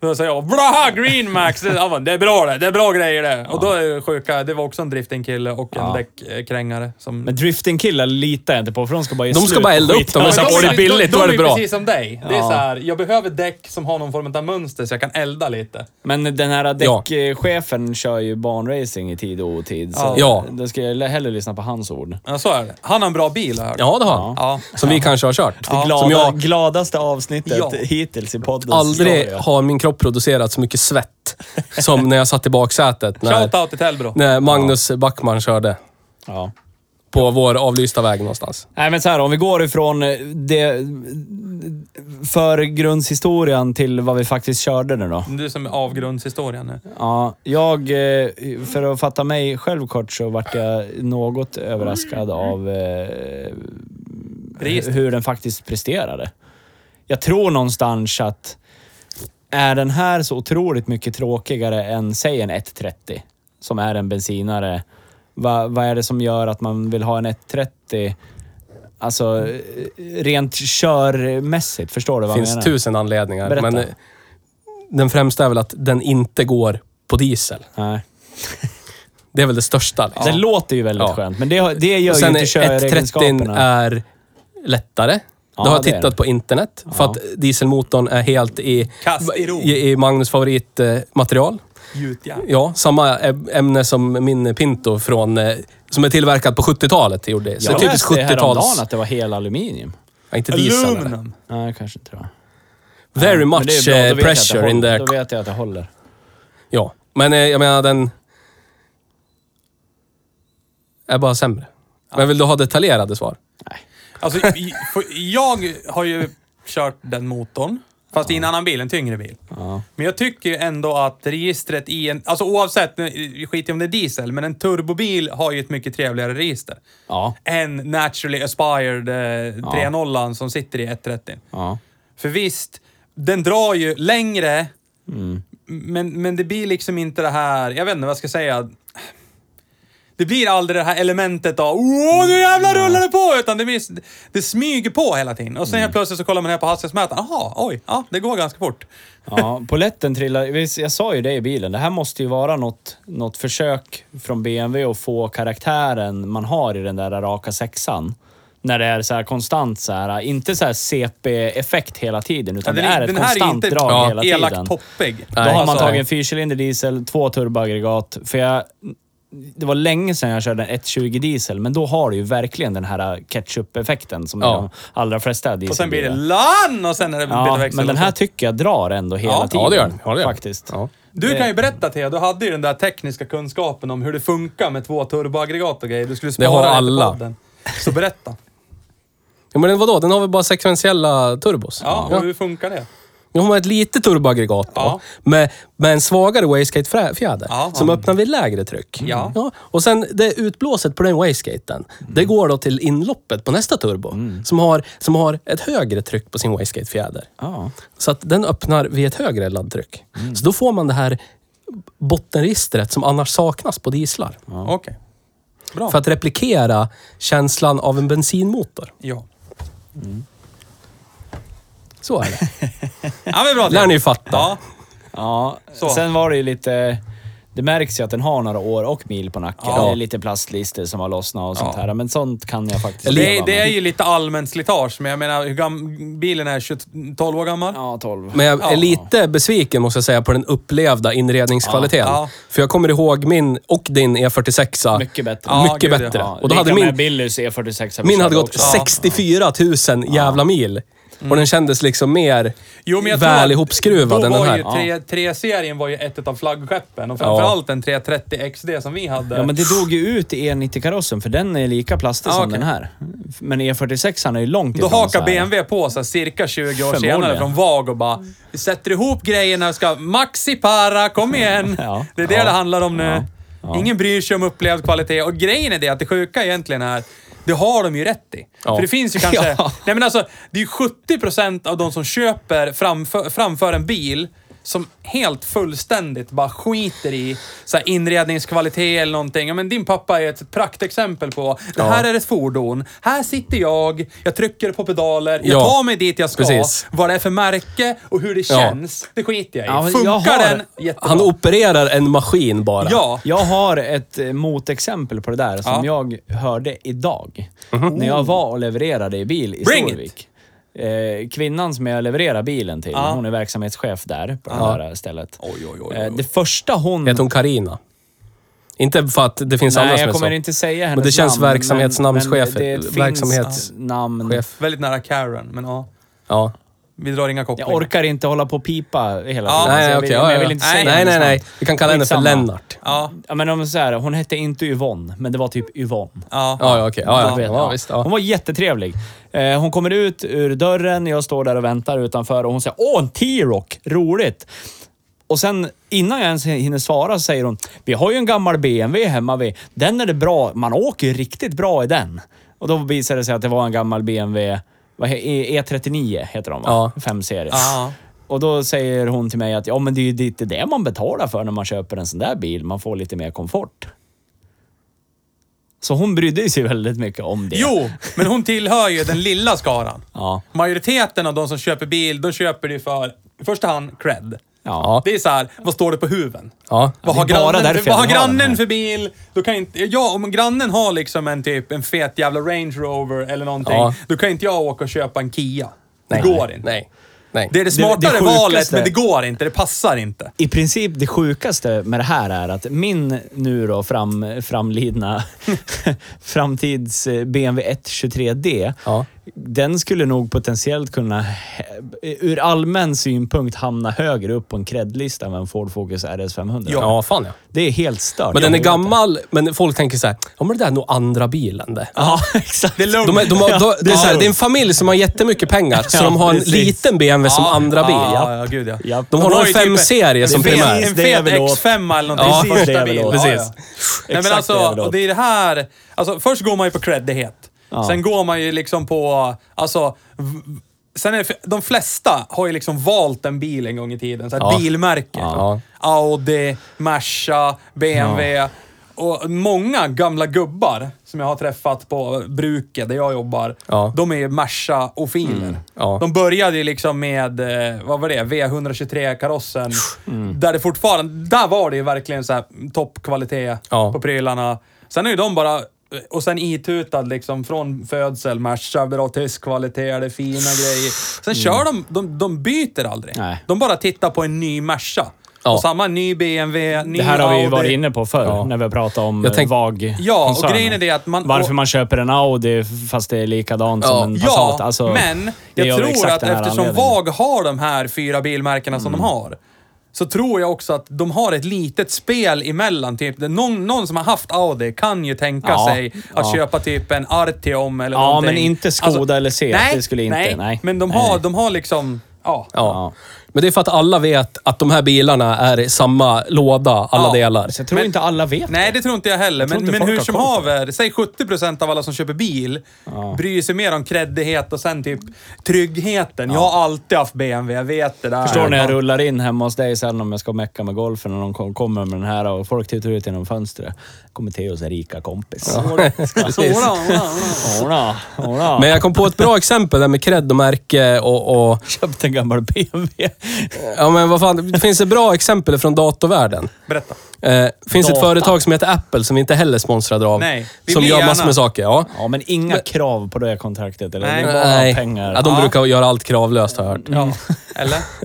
Speaker 3: Då säger jag blaha Green Max! Det, ja, men det är bra det, det är bra grejer det. Och då är det sjuka, det var också en driftingkille och en
Speaker 2: Ja.
Speaker 3: däckkrängare som...
Speaker 2: Men driftingkillar litar jag inte på, för de ska bara ge
Speaker 5: De ska
Speaker 2: slut
Speaker 5: bara
Speaker 2: på
Speaker 5: elda upp
Speaker 2: skiten.
Speaker 5: dem
Speaker 2: Ja,
Speaker 5: och sen
Speaker 2: men
Speaker 5: får
Speaker 2: de-
Speaker 5: det billigt, då är det
Speaker 3: De är
Speaker 5: bra.
Speaker 3: precis som dig. Det är
Speaker 2: Ja.
Speaker 3: så här, jag behöver däck som har någon form av mönster så jag kan elda lite.
Speaker 2: Men den här
Speaker 5: Ja.
Speaker 2: däckchefen kör ju banracing i tid och otid. Så
Speaker 5: Ja.
Speaker 2: Då ska jag hellre lyssna på hans ord.
Speaker 3: Ja, så är det. Han har en bra bil har jag hört.
Speaker 5: Ja, det har han.
Speaker 3: Ja.
Speaker 5: Som vi kanske har kört.
Speaker 2: Det glada,
Speaker 5: Som jag
Speaker 2: gladaste avsnittet
Speaker 3: Ja.
Speaker 2: hittills i podden.
Speaker 5: aldrig har min kropp producerat så mycket svett som när jag satt i baksätet när,
Speaker 3: Shoutout till Tellbro.
Speaker 5: när Magnus Backman körde
Speaker 2: Ja.
Speaker 5: på vår avlysta väg någonstans.
Speaker 2: Nej men så här, om vi går ifrån eh, det, förgrundshistorien till vad vi faktiskt körde nu då.
Speaker 3: Du som är avgrundshistorien nu.
Speaker 2: Ja, jag, eh, för att fatta mig själv kort så vart jag något överraskad av eh,
Speaker 3: Pris.
Speaker 2: hur den faktiskt presterade. Jag tror någonstans att är den här så otroligt mycket tråkigare än, säg en 130 som är en bensinare. Va, vad är det som gör att man vill ha en 130? Alltså, eh, rent körmässigt, förstår du
Speaker 5: Det
Speaker 2: vad jag
Speaker 5: finns
Speaker 2: menar?
Speaker 5: tusen anledningar.
Speaker 2: Berätta.
Speaker 5: Men eh, den främsta är väl att den inte går på diesel.
Speaker 2: Nej.
Speaker 5: Det är väl det största. Liksom.
Speaker 2: Det låter ju väldigt
Speaker 5: Ja.
Speaker 2: skönt, men det, det gör
Speaker 5: Och
Speaker 2: ju
Speaker 5: sen
Speaker 2: inte
Speaker 5: 130
Speaker 2: köregenskaperna.
Speaker 5: är lättare.
Speaker 2: Ja,
Speaker 5: det har
Speaker 2: det
Speaker 5: jag
Speaker 2: är
Speaker 5: tittat
Speaker 2: det.
Speaker 5: på internet. För
Speaker 2: Ja.
Speaker 5: att dieselmotorn är helt i,
Speaker 3: Kast i ro.
Speaker 5: i, i Magnus favoritmaterial.
Speaker 3: Gjutjärn.
Speaker 5: Ja, samma äm- ämne som min Pinto från, eh, som är tillverkad på 70-talet. gjorde det. Så
Speaker 2: Jag
Speaker 5: det är typiskt
Speaker 2: läste häromdagen
Speaker 5: 70-tals...
Speaker 2: att det var hel aluminium.
Speaker 5: Ja, inte diesel. eller?
Speaker 3: Aluminum.
Speaker 2: Nej, kanske inte det var.
Speaker 5: Very
Speaker 2: Men det är
Speaker 5: much
Speaker 2: bra, då vet
Speaker 5: eh,
Speaker 2: jag att det
Speaker 5: pressure in
Speaker 2: håller.
Speaker 5: there.
Speaker 2: Då vet jag att det håller.
Speaker 5: Ja, men eh, jag menar den... Är bara sämre. Men vill du ha detaljerade svar?
Speaker 3: Alltså, i- för- jag har ju kört den motorn. Fast i en annan bil, en tyngre bil.
Speaker 2: Ja.
Speaker 3: Men jag tycker ju ändå att registret i en... Alltså oavsett, nu- vi skiter i om det är diesel, men en turbobil har ju ett mycket trevligare register.
Speaker 2: Ja.
Speaker 3: Än Naturally Aspired eh, 3.0 som sitter i 130.
Speaker 2: ja.
Speaker 3: För visst, den drar ju längre,
Speaker 2: Mm.
Speaker 3: men, men det blir liksom inte det här, jag vet inte vad jag ska säga. Det blir aldrig det här elementet av åh nu jävlar rullar det på! Utan det, blir, det smyger på hela tiden. Och sen
Speaker 2: Mm.
Speaker 3: helt plötsligt så kollar man ner på hastighetsmätaren. Jaha, oj, ja det går ganska fort.
Speaker 2: Ja, poletten trillar. visst, Jag sa ju det i bilen. Det här måste ju vara något, något försök från BMW att få karaktären man har i den där raka sexan. När det är så här konstant så här, inte så här CP-effekt hela tiden, utan det är ett konstant drag
Speaker 3: ja,
Speaker 2: hela tiden.
Speaker 3: elakt toppig.
Speaker 2: Då
Speaker 5: Nej,
Speaker 2: har man
Speaker 5: alltså-
Speaker 2: tagit en fyrcylinder diesel, två turboaggregat. För jag, det var länge sedan jag körde en 120 diesel, men då har du ju verkligen den här ketchup-effekten som är
Speaker 5: Ja.
Speaker 2: de allra flesta dieselbilar.
Speaker 3: Och sen blir det LAN och sen är det
Speaker 2: Ja,
Speaker 3: bilväxel.
Speaker 2: men den
Speaker 3: och
Speaker 2: här
Speaker 3: så.
Speaker 2: tycker jag drar ändå hela
Speaker 3: Ja,
Speaker 2: tiden.
Speaker 5: Ja, det gör den. Ja, det gör den.
Speaker 2: Faktiskt.
Speaker 5: Ja.
Speaker 3: Du kan ju berätta Thea, du hade ju den där tekniska kunskapen om hur det funkar med två turboaggregat och grejer. Du skulle spara
Speaker 5: har
Speaker 3: det till
Speaker 5: alla.
Speaker 3: podden. Så berätta.
Speaker 5: Ja, men den- vadå? Den har väl bara sekventiella turbos?
Speaker 3: Ja, och hur funkar det?
Speaker 5: Nu har man ett litet turboaggregat då,
Speaker 3: Ja.
Speaker 5: med, med en svagare wastegate-fjäder
Speaker 3: Ja,
Speaker 5: som
Speaker 3: ja.
Speaker 5: öppnar vid lägre tryck.
Speaker 3: Ja. Mm.
Speaker 5: Och sen det utblåset på den wastegaten, det går då till inloppet på nästa turbo som, har, som har ett högre tryck på sin wastegate-fjäder.
Speaker 2: Ja.
Speaker 5: Så att den öppnar vid ett högre laddtryck.
Speaker 3: Mm.
Speaker 5: Så då får man det här bottenregistret som annars saknas på dieslar.
Speaker 3: Okej. Bra.
Speaker 5: För att replikera känslan av en bensinmotor.
Speaker 3: Ja.
Speaker 5: Så är det.
Speaker 3: Ja, men bra.
Speaker 5: lär ni ju fatta.
Speaker 3: Ja.
Speaker 2: Ja,
Speaker 3: Så.
Speaker 2: sen var det ju lite... Det märks ju att den har några år och mil på nacken.
Speaker 3: Ja.
Speaker 2: Det är lite plastlister som har lossnat och sånt
Speaker 3: Ja.
Speaker 2: här. Men sånt kan jag faktiskt
Speaker 3: Det,
Speaker 2: leva
Speaker 3: är- det är
Speaker 2: med.
Speaker 3: ju lite allmänt slitage, men jag menar, hur gam- bilen är 20, 12 år gammal.
Speaker 2: Ja, 12.
Speaker 5: Men jag är
Speaker 3: Ja.
Speaker 5: lite besviken måste jag säga på den upplevda inredningskvaliteten.
Speaker 3: Ja. Ja.
Speaker 5: För jag kommer ihåg min och din E46.
Speaker 2: Mycket bättre.
Speaker 3: Ja,
Speaker 5: mycket
Speaker 3: gud, ja.
Speaker 5: bättre.
Speaker 2: Ja,
Speaker 5: Och då hade
Speaker 2: lika med
Speaker 5: min,
Speaker 2: Billys E E46.
Speaker 5: min hade gått
Speaker 2: också. Mm.
Speaker 5: 64 000 jävla mil. Och den kändes liksom mer väl ihopskruvad
Speaker 3: då
Speaker 5: än den
Speaker 3: var
Speaker 5: här.
Speaker 3: ju
Speaker 2: typ
Speaker 3: tre- 3-serien var ju ett av flaggskeppen och
Speaker 5: Ja.
Speaker 3: framförallt den 330 XD som vi hade.
Speaker 2: Ja, men det dog ju ut i E90-karossen för den är lika plastig
Speaker 3: Ja,
Speaker 2: som
Speaker 3: okej.
Speaker 2: den här. Men E46 är ju långt
Speaker 3: Då
Speaker 2: ifrån så
Speaker 3: hakar
Speaker 2: här.
Speaker 3: BMW på sig cirka 20 år senare
Speaker 2: Förmodligen.
Speaker 3: från VAG och bara "Vi sätter ihop grejerna och ska maxi para, kom igen!
Speaker 2: Ja.
Speaker 3: Det är det
Speaker 2: Ja.
Speaker 3: det handlar om nu.
Speaker 2: Ja. Ja.
Speaker 3: Ingen bryr sig om upplevd kvalitet och grejen är det att det sjuka egentligen är det har de ju rätt i.
Speaker 5: Ja.
Speaker 3: För det finns ju kanske...
Speaker 2: Ja.
Speaker 3: Nej men alltså, det är ju 70% av de som köper framför, framför en bil som helt fullständigt bara skiter i så här inredningskvalitet eller någonting. Ja, men din pappa är ett praktexempel på, det här är ett fordon, här sitter jag, jag trycker på pedaler, jag
Speaker 5: Ja,
Speaker 3: tar mig dit jag ska.
Speaker 5: precis.
Speaker 3: Vad det är för märke och hur det
Speaker 5: Ja.
Speaker 3: känns, det skiter jag i.
Speaker 2: Ja, men
Speaker 3: Funkar
Speaker 2: jag har-
Speaker 3: den? Jättebra.
Speaker 5: Han opererar en maskin bara.
Speaker 3: Ja.
Speaker 2: Jag har ett eh, motexempel på det där som jag hörde idag. När jag var och levererade i bil i
Speaker 3: Mhm. Bring it!
Speaker 2: Storvik. Eh, kvinnan som jag levererar bilen till,
Speaker 3: Ja.
Speaker 2: hon är verksamhetschef där på
Speaker 3: Ja.
Speaker 2: det här stället.
Speaker 3: Oj, oj, oj,
Speaker 2: Eh,
Speaker 3: oj.
Speaker 2: Det första hon...
Speaker 5: Heter hon Karina? Inte för att det finns andra
Speaker 2: Nej,
Speaker 5: som
Speaker 2: jag
Speaker 5: är
Speaker 2: kommer
Speaker 5: så.
Speaker 2: inte säga hennes
Speaker 5: Men det känns
Speaker 2: namn,
Speaker 5: verksamhetsnamnschef.
Speaker 2: men det finns
Speaker 5: Verksamhets-
Speaker 2: namn.
Speaker 5: Chef.
Speaker 3: Väldigt nära Karen, men ja.
Speaker 5: Ja.
Speaker 3: Vi drar inga kopplingar.
Speaker 2: Jag orkar inte hålla på och pipa hela tiden.
Speaker 3: Ja,
Speaker 2: så
Speaker 5: nej,
Speaker 2: alltså,
Speaker 5: nej,
Speaker 2: jag vill-
Speaker 5: okej. ja,
Speaker 2: men jag
Speaker 5: ja,
Speaker 2: vill
Speaker 5: ja.
Speaker 2: inte
Speaker 5: nej,
Speaker 2: säga
Speaker 5: nej,
Speaker 2: hennes
Speaker 5: nej,
Speaker 2: namn.
Speaker 5: nej. Vi kan kalla henne för
Speaker 2: Skitsamma.
Speaker 5: Lennart.
Speaker 3: Ja,
Speaker 2: Ja, men om så här, hon hette inte Yvonne, men det var typ Yvonne.
Speaker 3: ja.
Speaker 5: Ja, ja, okej. Ja,
Speaker 2: Du
Speaker 5: ja,
Speaker 2: vet,
Speaker 5: ja,
Speaker 2: ja.
Speaker 5: visst.
Speaker 2: Hon
Speaker 5: Ja.
Speaker 2: var jättetrevlig. Eh, Hon kommer ut ur dörren, jag står där och väntar utanför och hon säger Åh, en T-Rock! Roligt! Och sen innan jag ens hinner svara så säger hon Vi har ju en gammal BMW hemma vid. Den är det bra. Man åker ju riktigt bra i den. Och då visade det sig att det var en gammal BMW vad he- E- E39 heter de va?
Speaker 5: Ja.
Speaker 2: 5-serie.
Speaker 3: Ja.
Speaker 2: Och då säger hon till mig att ja, men det är ju lite det man betalar för när man köper en sån där bil. Man får lite mer komfort. Så hon brydde sig väldigt mycket om det.
Speaker 3: Jo, men hon tillhör ju den lilla skaran.
Speaker 2: Ja.
Speaker 3: Majoriteten av de som köper bil, de köper det för i första hand cred.
Speaker 2: Ja.
Speaker 3: Det är så här, vad står det på huven?
Speaker 5: Ja.
Speaker 3: Vad
Speaker 2: det
Speaker 3: har
Speaker 2: är bara
Speaker 3: grannen,
Speaker 2: därför
Speaker 3: för, vad har
Speaker 2: jag har den
Speaker 3: grannen
Speaker 2: här.
Speaker 3: för bil? Då kan inte, ja, om grannen har liksom en typ en fet jävla Range Rover eller någonting,
Speaker 5: Ja.
Speaker 3: då kan inte jag åka och köpa en Kia. Det
Speaker 5: Nej.
Speaker 3: går inte.
Speaker 5: Nej. Nej.
Speaker 3: Det är det smartare
Speaker 2: sjukaste-
Speaker 3: valet, men det går inte. Det passar inte.
Speaker 2: I princip det sjukaste med det här är att min nu då fram, framlidna framtids eh, BMW 123D,
Speaker 5: Ja.
Speaker 2: den skulle nog potentiellt kunna, he- ur allmän synpunkt, hamna högre upp på en cred-lista än en Ford Focus RS 500.
Speaker 5: Ja, fan ja.
Speaker 2: Det är helt stört.
Speaker 5: Men den är
Speaker 2: Jag vet det.
Speaker 5: gammal, men folk tänker så här, ja men det där är nog andra bilen det.
Speaker 2: Ja, exakt.
Speaker 3: Det är lugnt.
Speaker 5: De är, de har, de, det, är så här,
Speaker 3: Ja.
Speaker 5: det är en familj som har jättemycket pengar, så
Speaker 2: Ja,
Speaker 5: de har en
Speaker 2: precis.
Speaker 5: liten BMW som andra bil.
Speaker 3: Ja,
Speaker 5: Ja.
Speaker 3: ja, gud ja.
Speaker 2: Ja.
Speaker 5: De har
Speaker 3: var
Speaker 5: någon
Speaker 3: ju typ
Speaker 5: femserie som
Speaker 3: en fet-
Speaker 5: primär.
Speaker 3: En
Speaker 2: Det är
Speaker 3: fet
Speaker 2: väl åt-
Speaker 3: X5 eller någonting.
Speaker 5: Ja,
Speaker 3: som första
Speaker 2: det är väl
Speaker 3: bil.
Speaker 2: åt.
Speaker 3: Ja,
Speaker 5: Precis.
Speaker 3: ja. Nej, men
Speaker 2: Exakt, det är
Speaker 3: alltså,
Speaker 2: väl åt.
Speaker 3: och det är det här... Alltså, först går man ju på creddighet.
Speaker 2: Ja.
Speaker 3: Sen går man ju liksom på... Alltså, v- sen är det, för- de flesta har ju liksom valt en bil en gång i tiden. Så här
Speaker 5: Ja.
Speaker 3: bilmärke.
Speaker 5: Ja.
Speaker 3: Audi, Merca, BMW. Och många gamla gubbar som jag har träffat på bruket där jag jobbar,
Speaker 5: Ja.
Speaker 3: de är ju Merca-ofiler.
Speaker 2: Mm.
Speaker 5: Ja.
Speaker 3: De började ju liksom med, eh, vad var det, V123-karossen.
Speaker 2: Mm.
Speaker 3: Där det fortfarande, där var det ju verkligen så här toppkvalitet
Speaker 5: Ja.
Speaker 3: på prylarna. Sen är ju de bara, eh, och sen itutad liksom från födsel, Merca, bra tysk kvalitet, det är fina grejer. Sen kör de, de, de byter aldrig.
Speaker 2: Mm. Nej.
Speaker 3: De bara tittar på en ny Merca.
Speaker 5: Ja.
Speaker 3: Och samma ny BMW, ny
Speaker 2: Det här har vi ju
Speaker 3: Audi.
Speaker 2: varit inne på förr,
Speaker 5: Ja.
Speaker 2: när vi har pratat om
Speaker 5: Jag tänk-
Speaker 2: VAG
Speaker 3: Ja, och grejen är det att man...
Speaker 2: Varför
Speaker 3: och-
Speaker 2: man köper en Audi fast det är likadant
Speaker 5: Ja.
Speaker 2: som en Passat.
Speaker 3: Ja,
Speaker 2: Alltså,
Speaker 3: men
Speaker 2: det är
Speaker 3: jag
Speaker 2: av
Speaker 3: tror
Speaker 2: exakt
Speaker 3: att
Speaker 2: den här
Speaker 3: eftersom
Speaker 2: anledningen. Mm.
Speaker 3: VAG har de här fyra bilmärkena som de har, så tror jag också att de har ett litet spel emellan. Typ, Det är någon, någon som har haft Audi kan ju tänka
Speaker 2: Ja,
Speaker 3: sig att
Speaker 2: ja.
Speaker 3: köpa typ en Artium eller
Speaker 2: Ja,
Speaker 3: någonting. Alltså,
Speaker 2: men inte Skoda eller Seat,
Speaker 3: nej,
Speaker 2: det skulle inte-
Speaker 3: Nej,
Speaker 2: nej.
Speaker 3: men de
Speaker 2: Nej,
Speaker 3: har,
Speaker 2: nej.
Speaker 3: de har liksom... Ja.
Speaker 5: Ja. Men det är för att alla vet att de här bilarna är i samma låda, alla
Speaker 3: Ja.
Speaker 5: delar.
Speaker 2: Så jag tror
Speaker 3: Men-
Speaker 2: inte alla vet.
Speaker 3: Nej, det tror inte jag heller.
Speaker 2: tror
Speaker 3: men
Speaker 2: inte
Speaker 3: men
Speaker 2: folk
Speaker 3: hur
Speaker 2: har
Speaker 3: som
Speaker 2: koll på
Speaker 3: haver, säg 70% av alla som köper bil bryr sig mer om creddighet och sen typ tryggheten. Jag har alltid haft BMW, jag vet det där.
Speaker 2: Förstår när jag
Speaker 3: Ja.
Speaker 2: rullar in hemma hos dig sen om jag ska mecka med golfen och någon kom- kommer med den här och folk tittar ut genom fönstret. kommer Theos rika kompis.
Speaker 3: Sådär, ja.
Speaker 2: Ora, ora.
Speaker 5: Men jag kom på ett bra exempel där med cred och märke och, och
Speaker 2: köpte en gammal BMW.
Speaker 5: Ja, men vad fan. Det finns ett bra exempel från datorvärlden.
Speaker 3: Berätta.
Speaker 5: Eh, finns
Speaker 2: Data.
Speaker 5: ett företag som heter Apple som vi inte heller är sponsrade av.
Speaker 3: Nej, vi
Speaker 5: som
Speaker 3: blir
Speaker 5: gör
Speaker 3: gärna.
Speaker 5: massor med saker. Ja.
Speaker 2: Ja, men inga krav på det kontraktet. Eller?
Speaker 3: Nej.
Speaker 2: det är bara
Speaker 5: Nej.
Speaker 2: pengar. Ah,
Speaker 5: Ja, de
Speaker 3: Ja.
Speaker 5: brukar göra allt kravlöst har jag hört.
Speaker 3: Ja.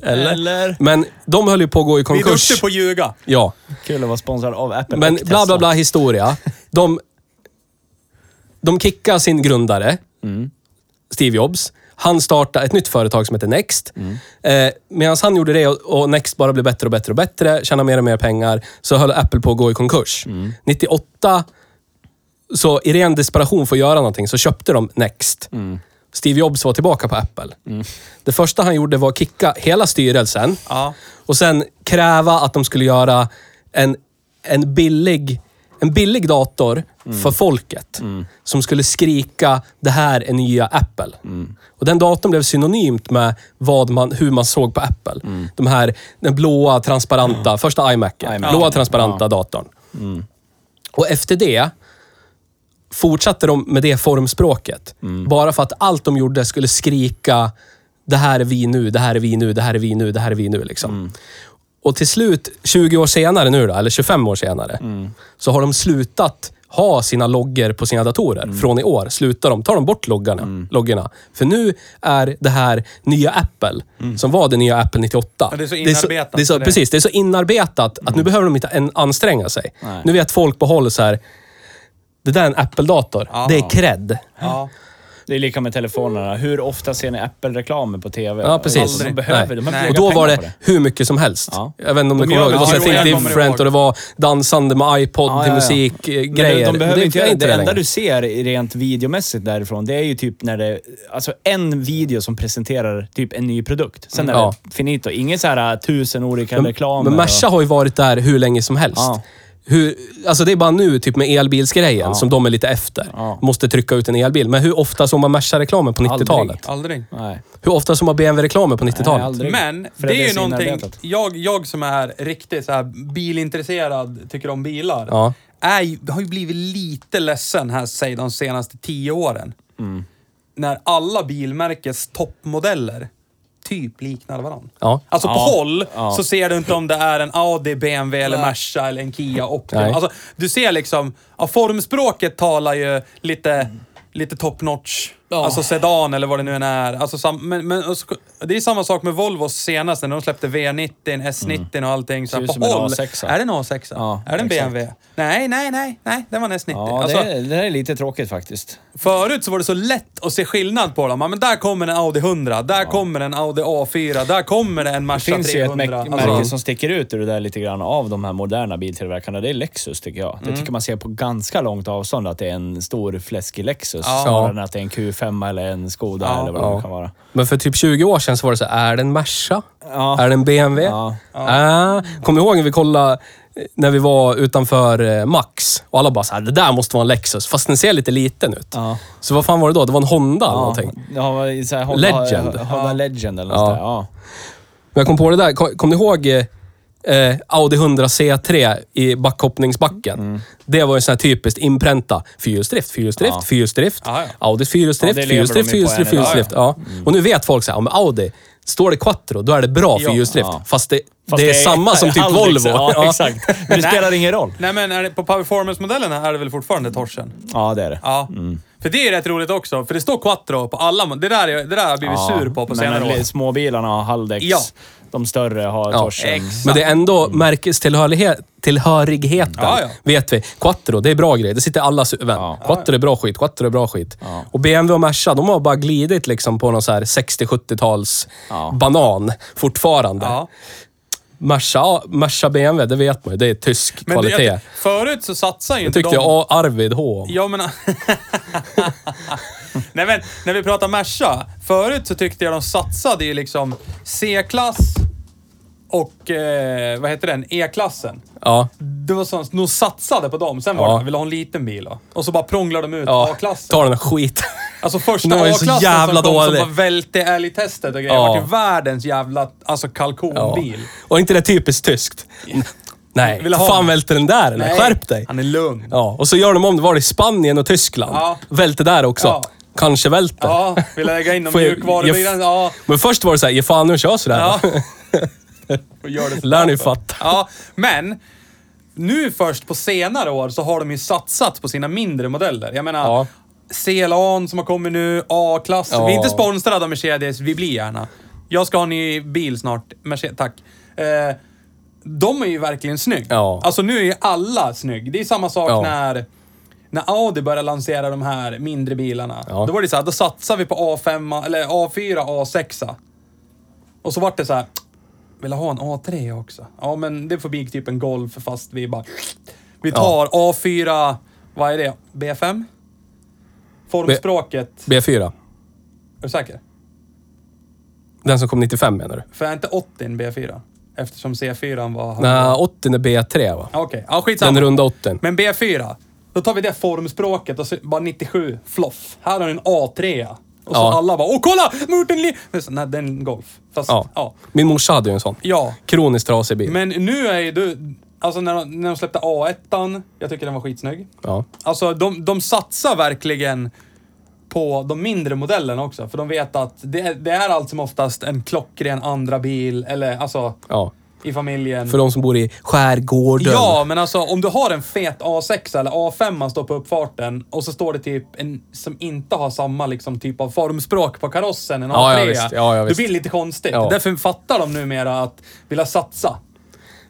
Speaker 3: Eller?
Speaker 2: eller?
Speaker 5: Men de höll ju på att gå
Speaker 3: Vi
Speaker 5: i
Speaker 3: är
Speaker 5: konkurs.
Speaker 3: duktiga på att ljuga.
Speaker 5: Ja.
Speaker 2: Kul att vara sponsrad av Apple
Speaker 5: Men
Speaker 2: och
Speaker 5: bla bla
Speaker 2: Tesla.
Speaker 5: bla historia. De, de kickar sin grundare, Steve Jobs. Han startade ett nytt företag som heter Next. Eh, Medan han gjorde det och, och Next bara blev bättre och bättre och bättre, tjänade mer och mer pengar, så höll Apple på att gå i konkurs. 98, så i ren desperation för att göra någonting, så köpte de Next. Steve Jobs var tillbaka på Apple. Det första han gjorde var att kicka hela styrelsen.
Speaker 3: Ja.
Speaker 5: Och sen kräva att de skulle göra en, en, billig, en billig dator för folket. Som skulle skrika det här är nya Apple. Och den datorn blev synonymt med vad man, hur man såg på Apple. De här, den blåa, transparenta, första iMacen.
Speaker 2: iMac.
Speaker 5: Blåa,
Speaker 2: Ja.
Speaker 5: transparenta
Speaker 2: Ja.
Speaker 5: datorn. Och efter det fortsatte de med det formspråket.
Speaker 3: Mm.
Speaker 5: Bara för att allt de gjorde skulle skrika det här är vi nu, det här är vi nu, det här är vi nu, det här är vi nu. Liksom.
Speaker 3: Mm.
Speaker 5: Och till slut, 20 år senare nu då, eller 25 år senare,
Speaker 3: Mm.
Speaker 5: så har de slutat ha sina loggor på sina datorer.
Speaker 3: Mm.
Speaker 5: Från i år slutar de, tar de bort loggarna, loggorna. För nu är det här nya Apple, som var det nya Apple 98.
Speaker 3: Mm. Ja, det Mm. är så inarbetat,
Speaker 5: Det är så,
Speaker 3: eller?
Speaker 5: precis, det är så inarbetat att nu behöver de inte en- anstränga sig.
Speaker 2: Nej.
Speaker 5: Nu vet folk på håll så här, det där är en Apple-dator.
Speaker 3: Ja.
Speaker 5: Det är cred.
Speaker 3: Ja.
Speaker 2: Det är lika med telefonerna.
Speaker 3: Mm.
Speaker 2: Hur ofta ser ni Apple-reklamer på TV?
Speaker 5: Ja, precis.
Speaker 2: alltså, De
Speaker 5: Aldrig.
Speaker 2: behöver,
Speaker 5: Nej.
Speaker 2: de behöver
Speaker 3: Nej.
Speaker 5: Och
Speaker 2: lägga
Speaker 5: då var
Speaker 2: pengar
Speaker 5: det
Speaker 2: på det.
Speaker 5: hur mycket som helst.
Speaker 2: Ja.
Speaker 5: Jag vet inte om
Speaker 3: De
Speaker 5: ni
Speaker 3: gör
Speaker 5: kommer ihåg. Det
Speaker 3: det.
Speaker 5: var
Speaker 3: Ja,
Speaker 5: Think
Speaker 3: jo, jag kommer
Speaker 5: Different
Speaker 3: ihåg.
Speaker 5: och det var dansande med iPod
Speaker 2: Ja,
Speaker 5: till
Speaker 2: ja, ja.
Speaker 5: musikgrejer.
Speaker 2: Men de behöver
Speaker 5: det
Speaker 2: inte
Speaker 5: gör
Speaker 2: göra det. Det
Speaker 5: längre.
Speaker 2: enda du ser rent videomässigt därifrån, det är ju typ när det... Alltså en video som presenterar typ en ny produkt. Sen är
Speaker 5: Ja.
Speaker 2: det finito. Inget så här äh, tusen olika reklamer.
Speaker 5: Men
Speaker 2: och-
Speaker 5: Merca har ju varit där hur länge som helst.
Speaker 2: Ja.
Speaker 5: Hur, alltså det är bara nu, typ med elbilsgrejen, som de är lite efter.
Speaker 2: Ja.
Speaker 5: Måste trycka ut en elbil. Men hur ofta såg man Merca-reklamen på 90-talet?
Speaker 3: Aldrig.
Speaker 2: Nej.
Speaker 5: Hur ofta såg man BMW-reklamen på 90-talet?
Speaker 2: aldrig.
Speaker 3: Men det
Speaker 2: För det är
Speaker 3: är ju
Speaker 2: så
Speaker 3: någonting...
Speaker 2: inarbetat.
Speaker 3: Jag, jag som är riktigt så här bilintresserad, tycker om bilar,
Speaker 5: Ja.
Speaker 3: är, ju- har ju blivit lite ledsen här, säg de senaste tio åren. När alla bilmärkes toppmodeller typ liknar varandra.
Speaker 5: Ja.
Speaker 3: Alltså på
Speaker 2: Ja.
Speaker 3: håll
Speaker 2: Ja.
Speaker 3: så ser du inte om det är en Audi, BMW, eller Merca eller en Kia Optima.
Speaker 5: Nej.
Speaker 3: Alltså, du ser liksom, ja, formspråket talar ju lite, lite top notch. Alltså sedan eller vad det nu än är. Alltså, sam- men, men, och så- det är samma sak med Volvos senaste, när de släppte V90, S90 och allting. Så här,
Speaker 2: Mm. Ser ut
Speaker 3: på
Speaker 2: som en
Speaker 3: håll,
Speaker 2: A6.
Speaker 3: är det en A6?
Speaker 2: Ja,
Speaker 3: är det en
Speaker 2: exakt.
Speaker 3: BMW? Nej, nej, nej, nej, det var en S90.
Speaker 2: Ja,
Speaker 3: alltså,
Speaker 2: det, är, det där är lite tråkigt faktiskt.
Speaker 3: Förut så var det så lätt att se skillnad på dem. Ja, Men där kommer en Audi 100, där kommer en Audi A4, där kommer det en
Speaker 2: Det
Speaker 3: Merca
Speaker 2: finns ju ett
Speaker 3: 300.
Speaker 2: mäk-
Speaker 3: Alltså,
Speaker 2: märke som sticker ut ur det där lite grann av de här moderna biltillverkarna. Det är Lexus tycker jag.
Speaker 3: Mm.
Speaker 2: Det tycker man ser på ganska långt avstånd att det är en stor fläskig Lexus. Snarare än att det är en Q5 eller en Skoda
Speaker 3: Ja.
Speaker 2: eller vad det
Speaker 5: Ja.
Speaker 2: nu kan vara.
Speaker 5: Men för typ 20 år sedan så var det så här, är det en Merca?
Speaker 2: Ja.
Speaker 5: Är det en BMW?
Speaker 2: Ja.
Speaker 5: Ah. Kommer du ihåg när vi kollade eh, när vi var utanför eh, Max och alla bara så här, det där måste vara en Lexus, fast den ser lite liten ut.
Speaker 2: Ja.
Speaker 5: Så vad fan var det då? Det var en Honda eller någonting.
Speaker 2: Ja, vad- så här, Honda,
Speaker 5: Legend.
Speaker 2: Honda Legend eller något
Speaker 5: Ja.
Speaker 2: där. Ja.
Speaker 5: Men jag kom på det där. Kom, kom ni ihåg eh, eh, Audi 100 C3 i backhoppningsbacken?
Speaker 2: Mm.
Speaker 5: Det var ju sån här typiskt inpränta. Fyrhjulsdrift, fyrhjulsdrift,
Speaker 2: Ja.
Speaker 5: fyrhjulsdrift.
Speaker 3: Ja, ja.
Speaker 5: Audis
Speaker 2: Ja, det
Speaker 5: fyrhjulsdrift,
Speaker 2: lever
Speaker 5: fyrhjulsdrift,
Speaker 2: de ju på
Speaker 5: fyrhjulsdrift,
Speaker 2: än idag. Mm.
Speaker 5: fyrhjulsdrift. Ja. Och nu vet folk så här, om Audi, står det quattro, då är det bra fyrhjulsdrift. Fast, det,
Speaker 2: Fast
Speaker 5: det, är samma som typ
Speaker 2: Haldex,
Speaker 5: Volvo.
Speaker 2: Ja, exakt. Men
Speaker 3: Nej.
Speaker 2: det spelar ingen roll.
Speaker 3: Nej men är det, på Powerformance-modellerna är det väl fortfarande torsen?
Speaker 2: Ja, det är det.
Speaker 3: Ja.
Speaker 5: Mm.
Speaker 3: För det är rätt roligt också, för det står quattro på alla. mo- Det där, är- det där har jag blivit
Speaker 2: Ja,
Speaker 3: sur på på
Speaker 2: men
Speaker 3: senare år.
Speaker 2: li- Småbilarna har halvdäck.
Speaker 3: Ja.
Speaker 2: De större har
Speaker 5: Ja.
Speaker 2: torsen.
Speaker 3: Exakt.
Speaker 5: Men det är ändå märkestillhörigheten, tillhörigheten,
Speaker 3: Ja, ja.
Speaker 5: vet vi. Quattro, det är bra grejer. Det sitter i allas huvuden.
Speaker 2: Ja.
Speaker 5: Quattro är bra skit, quattro är bra skit.
Speaker 2: Ja.
Speaker 5: Och BMW och Merca, de har bara glidit liksom på någon så här 60-70-tals
Speaker 2: Ja.
Speaker 5: banan fortfarande.
Speaker 3: Ja.
Speaker 5: Merca, Merca BMW, det vet man ju. Det är tysk
Speaker 3: Men det,
Speaker 5: kvalitet.
Speaker 3: jag, förut så satsade ju
Speaker 5: det
Speaker 3: inte de...
Speaker 5: tyckte jag A- Arvid H om.
Speaker 3: Ja, men... Nej, men när vi pratar Merca. Förut så tyckte jag de satsade i liksom C-klass och, eh, vad heter den, E-klassen.
Speaker 5: Ja.
Speaker 3: Det var sånt, de satsade på dem. Sen var
Speaker 5: Ja.
Speaker 3: det, vill ha en liten bil då? Och så bara prånglade de ut
Speaker 5: ja.
Speaker 3: A-klassen.
Speaker 5: Ta den här skiten.
Speaker 3: Alltså första
Speaker 5: Den var ju så
Speaker 3: A-klassen
Speaker 5: jävla
Speaker 3: som kom
Speaker 5: dålig.
Speaker 3: som bara välte älgtestet och grejer.
Speaker 5: Ja.
Speaker 3: Det var ju världens jävla alltså, kalkonbil.
Speaker 5: Och inte det typiskt tyskt? Nej,
Speaker 3: Vill ha
Speaker 5: fan
Speaker 3: den.
Speaker 5: välter den där eller?
Speaker 3: Nej,
Speaker 5: Skärp dig!
Speaker 3: Han är lugn.
Speaker 5: Ja, och så gör de om det. Var det i Spanien och Tyskland?
Speaker 3: Ja.
Speaker 5: Välte där också.
Speaker 3: Ja.
Speaker 5: Kanske välte.
Speaker 3: Ja, vill lägga in någon
Speaker 5: Får jag-
Speaker 3: mjukvarubil.
Speaker 5: jag-
Speaker 3: Ja,
Speaker 5: Men först var det såhär, ge fan nu och kör sådär.
Speaker 3: ja. Och gör det så
Speaker 5: Lär ni
Speaker 3: bra.
Speaker 5: fatta.
Speaker 3: Ja, men nu först på senare år så har de ju satsat på sina mindre modeller. Jag menar,
Speaker 5: Ja.
Speaker 3: CLA'n som har kommit nu, A-klass.
Speaker 5: Ja.
Speaker 3: Vi är inte sponsrade av Mercedes, vi blir gärna. Jag ska ha en ny bil snart. Mercedes, tack. Eh, de är ju verkligen snygg.
Speaker 5: Ja.
Speaker 3: Alltså nu är ju alla snygg. Det är samma sak
Speaker 5: Ja.
Speaker 3: när, när Audi började lansera de här mindre bilarna.
Speaker 5: Ja.
Speaker 3: Då var det så här, då satsar vi på A5, eller A4, A6. Och så vart det så här, vill jag ha en A3 också? Ja, men det får bli typ en Golf fast vi bara... Vi tar A4, vad är det? B5? Formspråket.
Speaker 5: B4.
Speaker 3: Är du säker?
Speaker 5: Den som kom 95 menar du?
Speaker 3: För är inte 80 en B4? Eftersom C4 var...
Speaker 5: Nej, 80 är B3 va?
Speaker 3: Okej, ja skitsamma.
Speaker 5: Den runda 80
Speaker 3: Men B4, Då tar vi det formspråket och så bara 97, floff. Här har du en A3. Och så
Speaker 5: Ja.
Speaker 3: alla bara, åh kolla! Mårten Li-" Men så, Nej, det är en Golf. Fast,
Speaker 5: Ja.
Speaker 3: ja.
Speaker 5: Min morsa hade ju en sån.
Speaker 3: Ja.
Speaker 5: Kroniskt trasig bil.
Speaker 3: Men nu är ju du... Alltså när de, när de släppte A1, jag tycker den var skitsnygg.
Speaker 5: Ja.
Speaker 3: Alltså de, de satsar verkligen på de mindre modellerna också. För de vet att det, är- det är allt som oftast en klockren andra bil eller alltså
Speaker 5: ja.
Speaker 3: i familjen.
Speaker 5: För de som bor i skärgården.
Speaker 3: Ja, men alltså om du har en fet A6 eller A5 står på uppfarten och så står det typ en som inte har samma liksom, typ av formspråk på karossen, en A3.
Speaker 5: Ja, ja, visst. Ja, ja,
Speaker 3: det
Speaker 5: visst.
Speaker 3: blir lite konstigt.
Speaker 5: Ja.
Speaker 3: Därför fattar de numera att vilja satsa.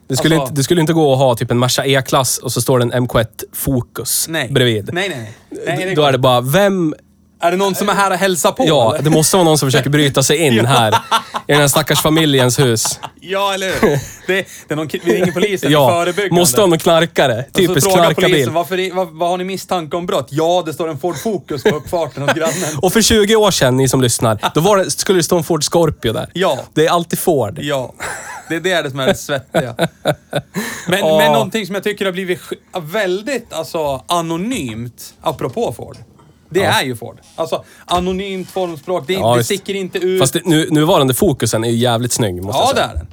Speaker 5: Det skulle,
Speaker 3: Alltså-
Speaker 5: inte, det skulle inte gå att ha typ en Merca E-klass och så står det en MK1 Focus
Speaker 3: Nej.
Speaker 5: bredvid.
Speaker 3: Nej, nej, nej. nej
Speaker 5: Då är det bara, vem...
Speaker 3: är det någon som är här och hälsar på?
Speaker 5: Ja,
Speaker 3: eller?
Speaker 5: det måste vara någon som försöker bryta sig in här. I den här stackars familjens hus.
Speaker 3: ja eller hur? Det, det är någon, vi ringer polisen ja.
Speaker 5: Ja,
Speaker 3: förebyggande.
Speaker 5: måste ha någon knarkare.
Speaker 3: och så
Speaker 5: Typiskt
Speaker 3: frågar polisen,
Speaker 5: knarkarbil.
Speaker 3: varför, i- vad, vad har ni misstanke om brott? Ja, det står en Ford Focus på uppfarten hos grannen.
Speaker 5: Och för 20 år sedan, ni som lyssnar, då var det, skulle det stå en Ford Scorpio där.
Speaker 3: Ja.
Speaker 5: Det är alltid Ford.
Speaker 3: Ja, det, det är det som är det svettiga. Men,
Speaker 5: Ja.
Speaker 3: men någonting som jag tycker har blivit sk- väldigt alltså, anonymt, apropå Ford. Det är ju Ford. Alltså, anonymt formspråk. Det,
Speaker 5: Ja,
Speaker 3: det
Speaker 5: visst.
Speaker 3: sticker inte ut.
Speaker 5: Fast det, nu, nuvarande fokusen är ju jävligt snygg, måste
Speaker 3: ja,
Speaker 5: jag
Speaker 3: det
Speaker 5: säga.
Speaker 3: är den.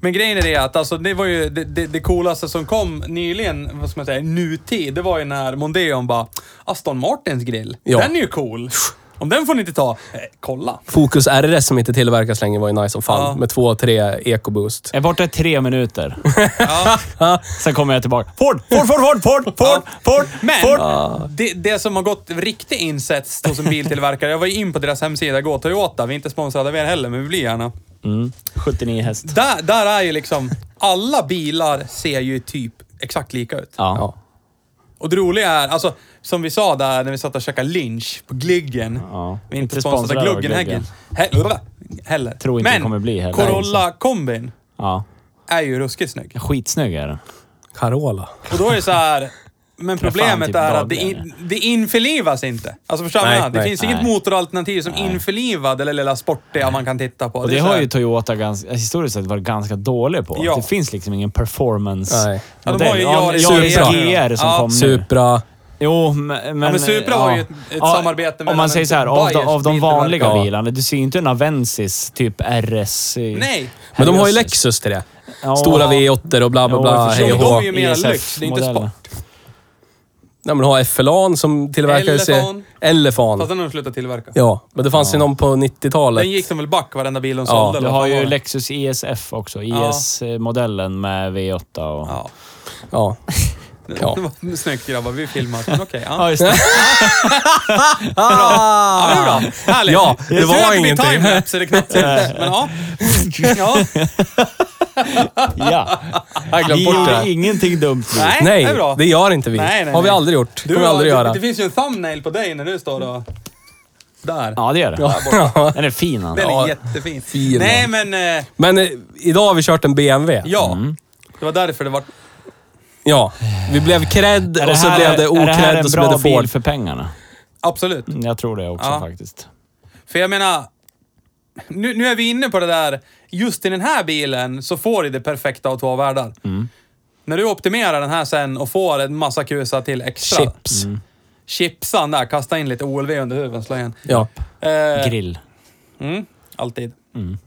Speaker 3: Men grejen är det att alltså, det var ju det, det, det coolaste som kom nyligen, vad ska man säga, nutid. Det var ju när Mondeon bara, Aston Martins grill,
Speaker 5: Ja.
Speaker 3: den är ju cool. Om den får ni inte ta, eh, kolla.
Speaker 5: Focus RS som inte tillverkas längre var ju nice som fan.
Speaker 3: Ja.
Speaker 5: Med två, tre EcoBoost.
Speaker 2: Jag är borta i tre minuter. Sen kommer jag tillbaka. Ford! Ford, Ford, Ford, Ford, Ford, Ford,
Speaker 3: Men
Speaker 2: Ford!
Speaker 3: det, det som har gått riktigt incest hos en biltillverkare. Jag var ju in på deras hemsida, gå Toyota. Vi är inte sponsrade av er heller, men vi blir gärna.
Speaker 2: Mm. 79 häst.
Speaker 3: Där, där är ju liksom, alla bilar ser ju typ exakt lika ut.
Speaker 2: Ja.
Speaker 5: Ja.
Speaker 3: Och det roliga är, alltså som vi sa där när vi satt och käkade lynch på Gluggen.
Speaker 2: Ja.
Speaker 3: Vi är inte
Speaker 2: Inte
Speaker 3: sponsrade av
Speaker 2: sponsrade av
Speaker 3: Gluggen Häggen.
Speaker 2: Gluggen.
Speaker 3: He- heller.
Speaker 2: Tror inte det
Speaker 3: Men
Speaker 2: kommer bli heller.
Speaker 3: Corolla-kombin
Speaker 2: ja.
Speaker 3: är ju ruskigt snygg.
Speaker 2: Skitsnygg är den.
Speaker 5: Carola.
Speaker 3: Och då är det så här... Men problemet
Speaker 2: typ
Speaker 3: är att det,
Speaker 2: dagligen,
Speaker 3: in, det införlivas inte. Alltså förstår du vad jag
Speaker 5: Nej,
Speaker 3: menar? Det
Speaker 5: nej,
Speaker 3: finns
Speaker 2: nej.
Speaker 3: inget motoralternativ som införlivar det lilla sportiga man kan titta på.
Speaker 2: Och
Speaker 3: är
Speaker 2: det
Speaker 3: så
Speaker 2: har
Speaker 3: här-
Speaker 2: ju Toyota ganska, historiskt sett varit ganska dålig på.
Speaker 3: Ja.
Speaker 2: Det finns liksom ingen performance-modell.
Speaker 5: Nej.
Speaker 3: Ja, de har ju Yaris
Speaker 5: Supra.
Speaker 2: GR som
Speaker 3: Ja.
Speaker 2: kom nu.
Speaker 5: Supra.
Speaker 2: Jo, m- men...
Speaker 3: men Supra har ju ett- ett samarbete
Speaker 2: Om
Speaker 3: mellan
Speaker 2: man säger
Speaker 3: en
Speaker 2: så här, av, de,
Speaker 3: Bayerns
Speaker 2: av de vanliga
Speaker 5: biltillverkare.
Speaker 2: bilarna. Du ser ju inte en Avensis typ RS. eh,
Speaker 3: Nej!
Speaker 5: Men de har ju
Speaker 2: herrejösses.
Speaker 5: Lexus till det.
Speaker 2: Ja.
Speaker 5: Stora V8 och bla bla
Speaker 2: Jo,
Speaker 5: bla.
Speaker 2: jag
Speaker 5: Hej
Speaker 3: Så
Speaker 5: och
Speaker 2: förstår.
Speaker 3: de
Speaker 5: hå.
Speaker 3: är ju mer
Speaker 2: ESF
Speaker 3: lyx, det är inte
Speaker 2: modellen.
Speaker 3: sport.
Speaker 5: Nej, men de har FLA'n som tillverkades i...
Speaker 3: Elefan.
Speaker 5: Elefan.
Speaker 3: Fast den har de slutat tillverka.
Speaker 5: Ja, men det fanns ju någon på 90-talet.
Speaker 3: Den gick de väl back varenda bil de
Speaker 5: Ja,
Speaker 3: sålde?
Speaker 2: Du
Speaker 3: eller vad
Speaker 2: har
Speaker 3: fan var
Speaker 2: ju
Speaker 3: det?
Speaker 2: Lexus ESF också.
Speaker 3: Ja.
Speaker 2: ES-modellen med V8 och...
Speaker 3: Ja.
Speaker 5: Ja. Ja.
Speaker 3: Det var Snyggt grabbar, vi filmar. Men okej. ja.
Speaker 2: Ja, just det.
Speaker 5: Ah!
Speaker 3: Ja, det är bra. Härligt.
Speaker 5: Ja, det
Speaker 3: Jag tror
Speaker 5: var
Speaker 3: att blir
Speaker 5: ingenting.
Speaker 3: timelapse, det är knappt syns. Men ja. ja.
Speaker 2: ja.
Speaker 5: Jag
Speaker 2: Vi
Speaker 5: glömde bort
Speaker 2: gjorde
Speaker 5: det.
Speaker 2: ingenting dumt. nu.
Speaker 3: Nej,
Speaker 5: Nej,
Speaker 3: det är bra.
Speaker 5: det gör inte vi.
Speaker 3: Nej, nej,
Speaker 5: har vi
Speaker 3: nej.
Speaker 5: aldrig gjort.
Speaker 3: Du,
Speaker 5: kommer vi aldrig
Speaker 3: det,
Speaker 5: göra.
Speaker 3: Det finns ju en thumbnail på dig när du står och... Där.
Speaker 2: Ja, det gör det.
Speaker 5: Ja.
Speaker 2: Den är fin. alltså. Han.
Speaker 3: Den är
Speaker 5: Ja.
Speaker 3: jättefin.
Speaker 5: Fin.
Speaker 3: Nej, men eh,
Speaker 5: Men eh, idag har vi kört en BMW.
Speaker 3: ja. Det var därför det var...
Speaker 5: Ja. Vi blev cred
Speaker 2: Är det
Speaker 5: och så
Speaker 2: här-
Speaker 5: blev det
Speaker 2: Är det här
Speaker 5: ocred
Speaker 2: en
Speaker 5: och så blev
Speaker 2: bra
Speaker 5: det
Speaker 2: bil
Speaker 5: Ford.
Speaker 2: för pengarna?
Speaker 3: Absolut.
Speaker 2: Jag tror det också
Speaker 3: Ja.
Speaker 2: faktiskt.
Speaker 3: För jag menar... Nu, nu är vi inne på det där, just i den här bilen så får du det perfekta av två världar.
Speaker 5: Mm.
Speaker 3: När du optimerar den här sen och får en massa kusar till extra.
Speaker 5: Chips.
Speaker 3: Chipsan där, kasta in lite OLV under huven, slå igen.
Speaker 5: Ja.
Speaker 3: Eh,
Speaker 2: Grill.
Speaker 3: Mm, alltid.
Speaker 2: Mm.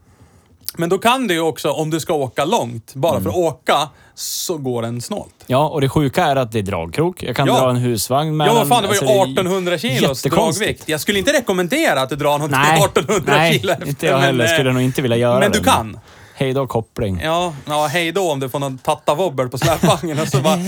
Speaker 3: Men då kan du ju också, om du ska åka långt, bara
Speaker 2: Mm.
Speaker 3: för att åka, så går den snålt.
Speaker 2: Ja, och det sjuka är att det är dragkrok. Jag kan
Speaker 3: Ja.
Speaker 2: dra en husvagn med
Speaker 3: Ja, vad
Speaker 2: den.
Speaker 3: fan, det var ju
Speaker 2: Alltså, är
Speaker 3: 1800 kilos
Speaker 2: jättekonstigt.
Speaker 3: dragvikt. Jag skulle inte rekommendera att du drar någonting
Speaker 2: Nej,
Speaker 3: 1800
Speaker 2: nej
Speaker 3: kilo efter,
Speaker 2: inte jag
Speaker 3: men,
Speaker 2: heller.
Speaker 3: eh,
Speaker 2: Skulle jag nog inte vilja göra
Speaker 3: Men
Speaker 2: det,
Speaker 3: du kan.
Speaker 2: Hej då koppling.
Speaker 3: eh, Ja, ja, hej då om du får någon tattavobbel på släpvagnen och så bara...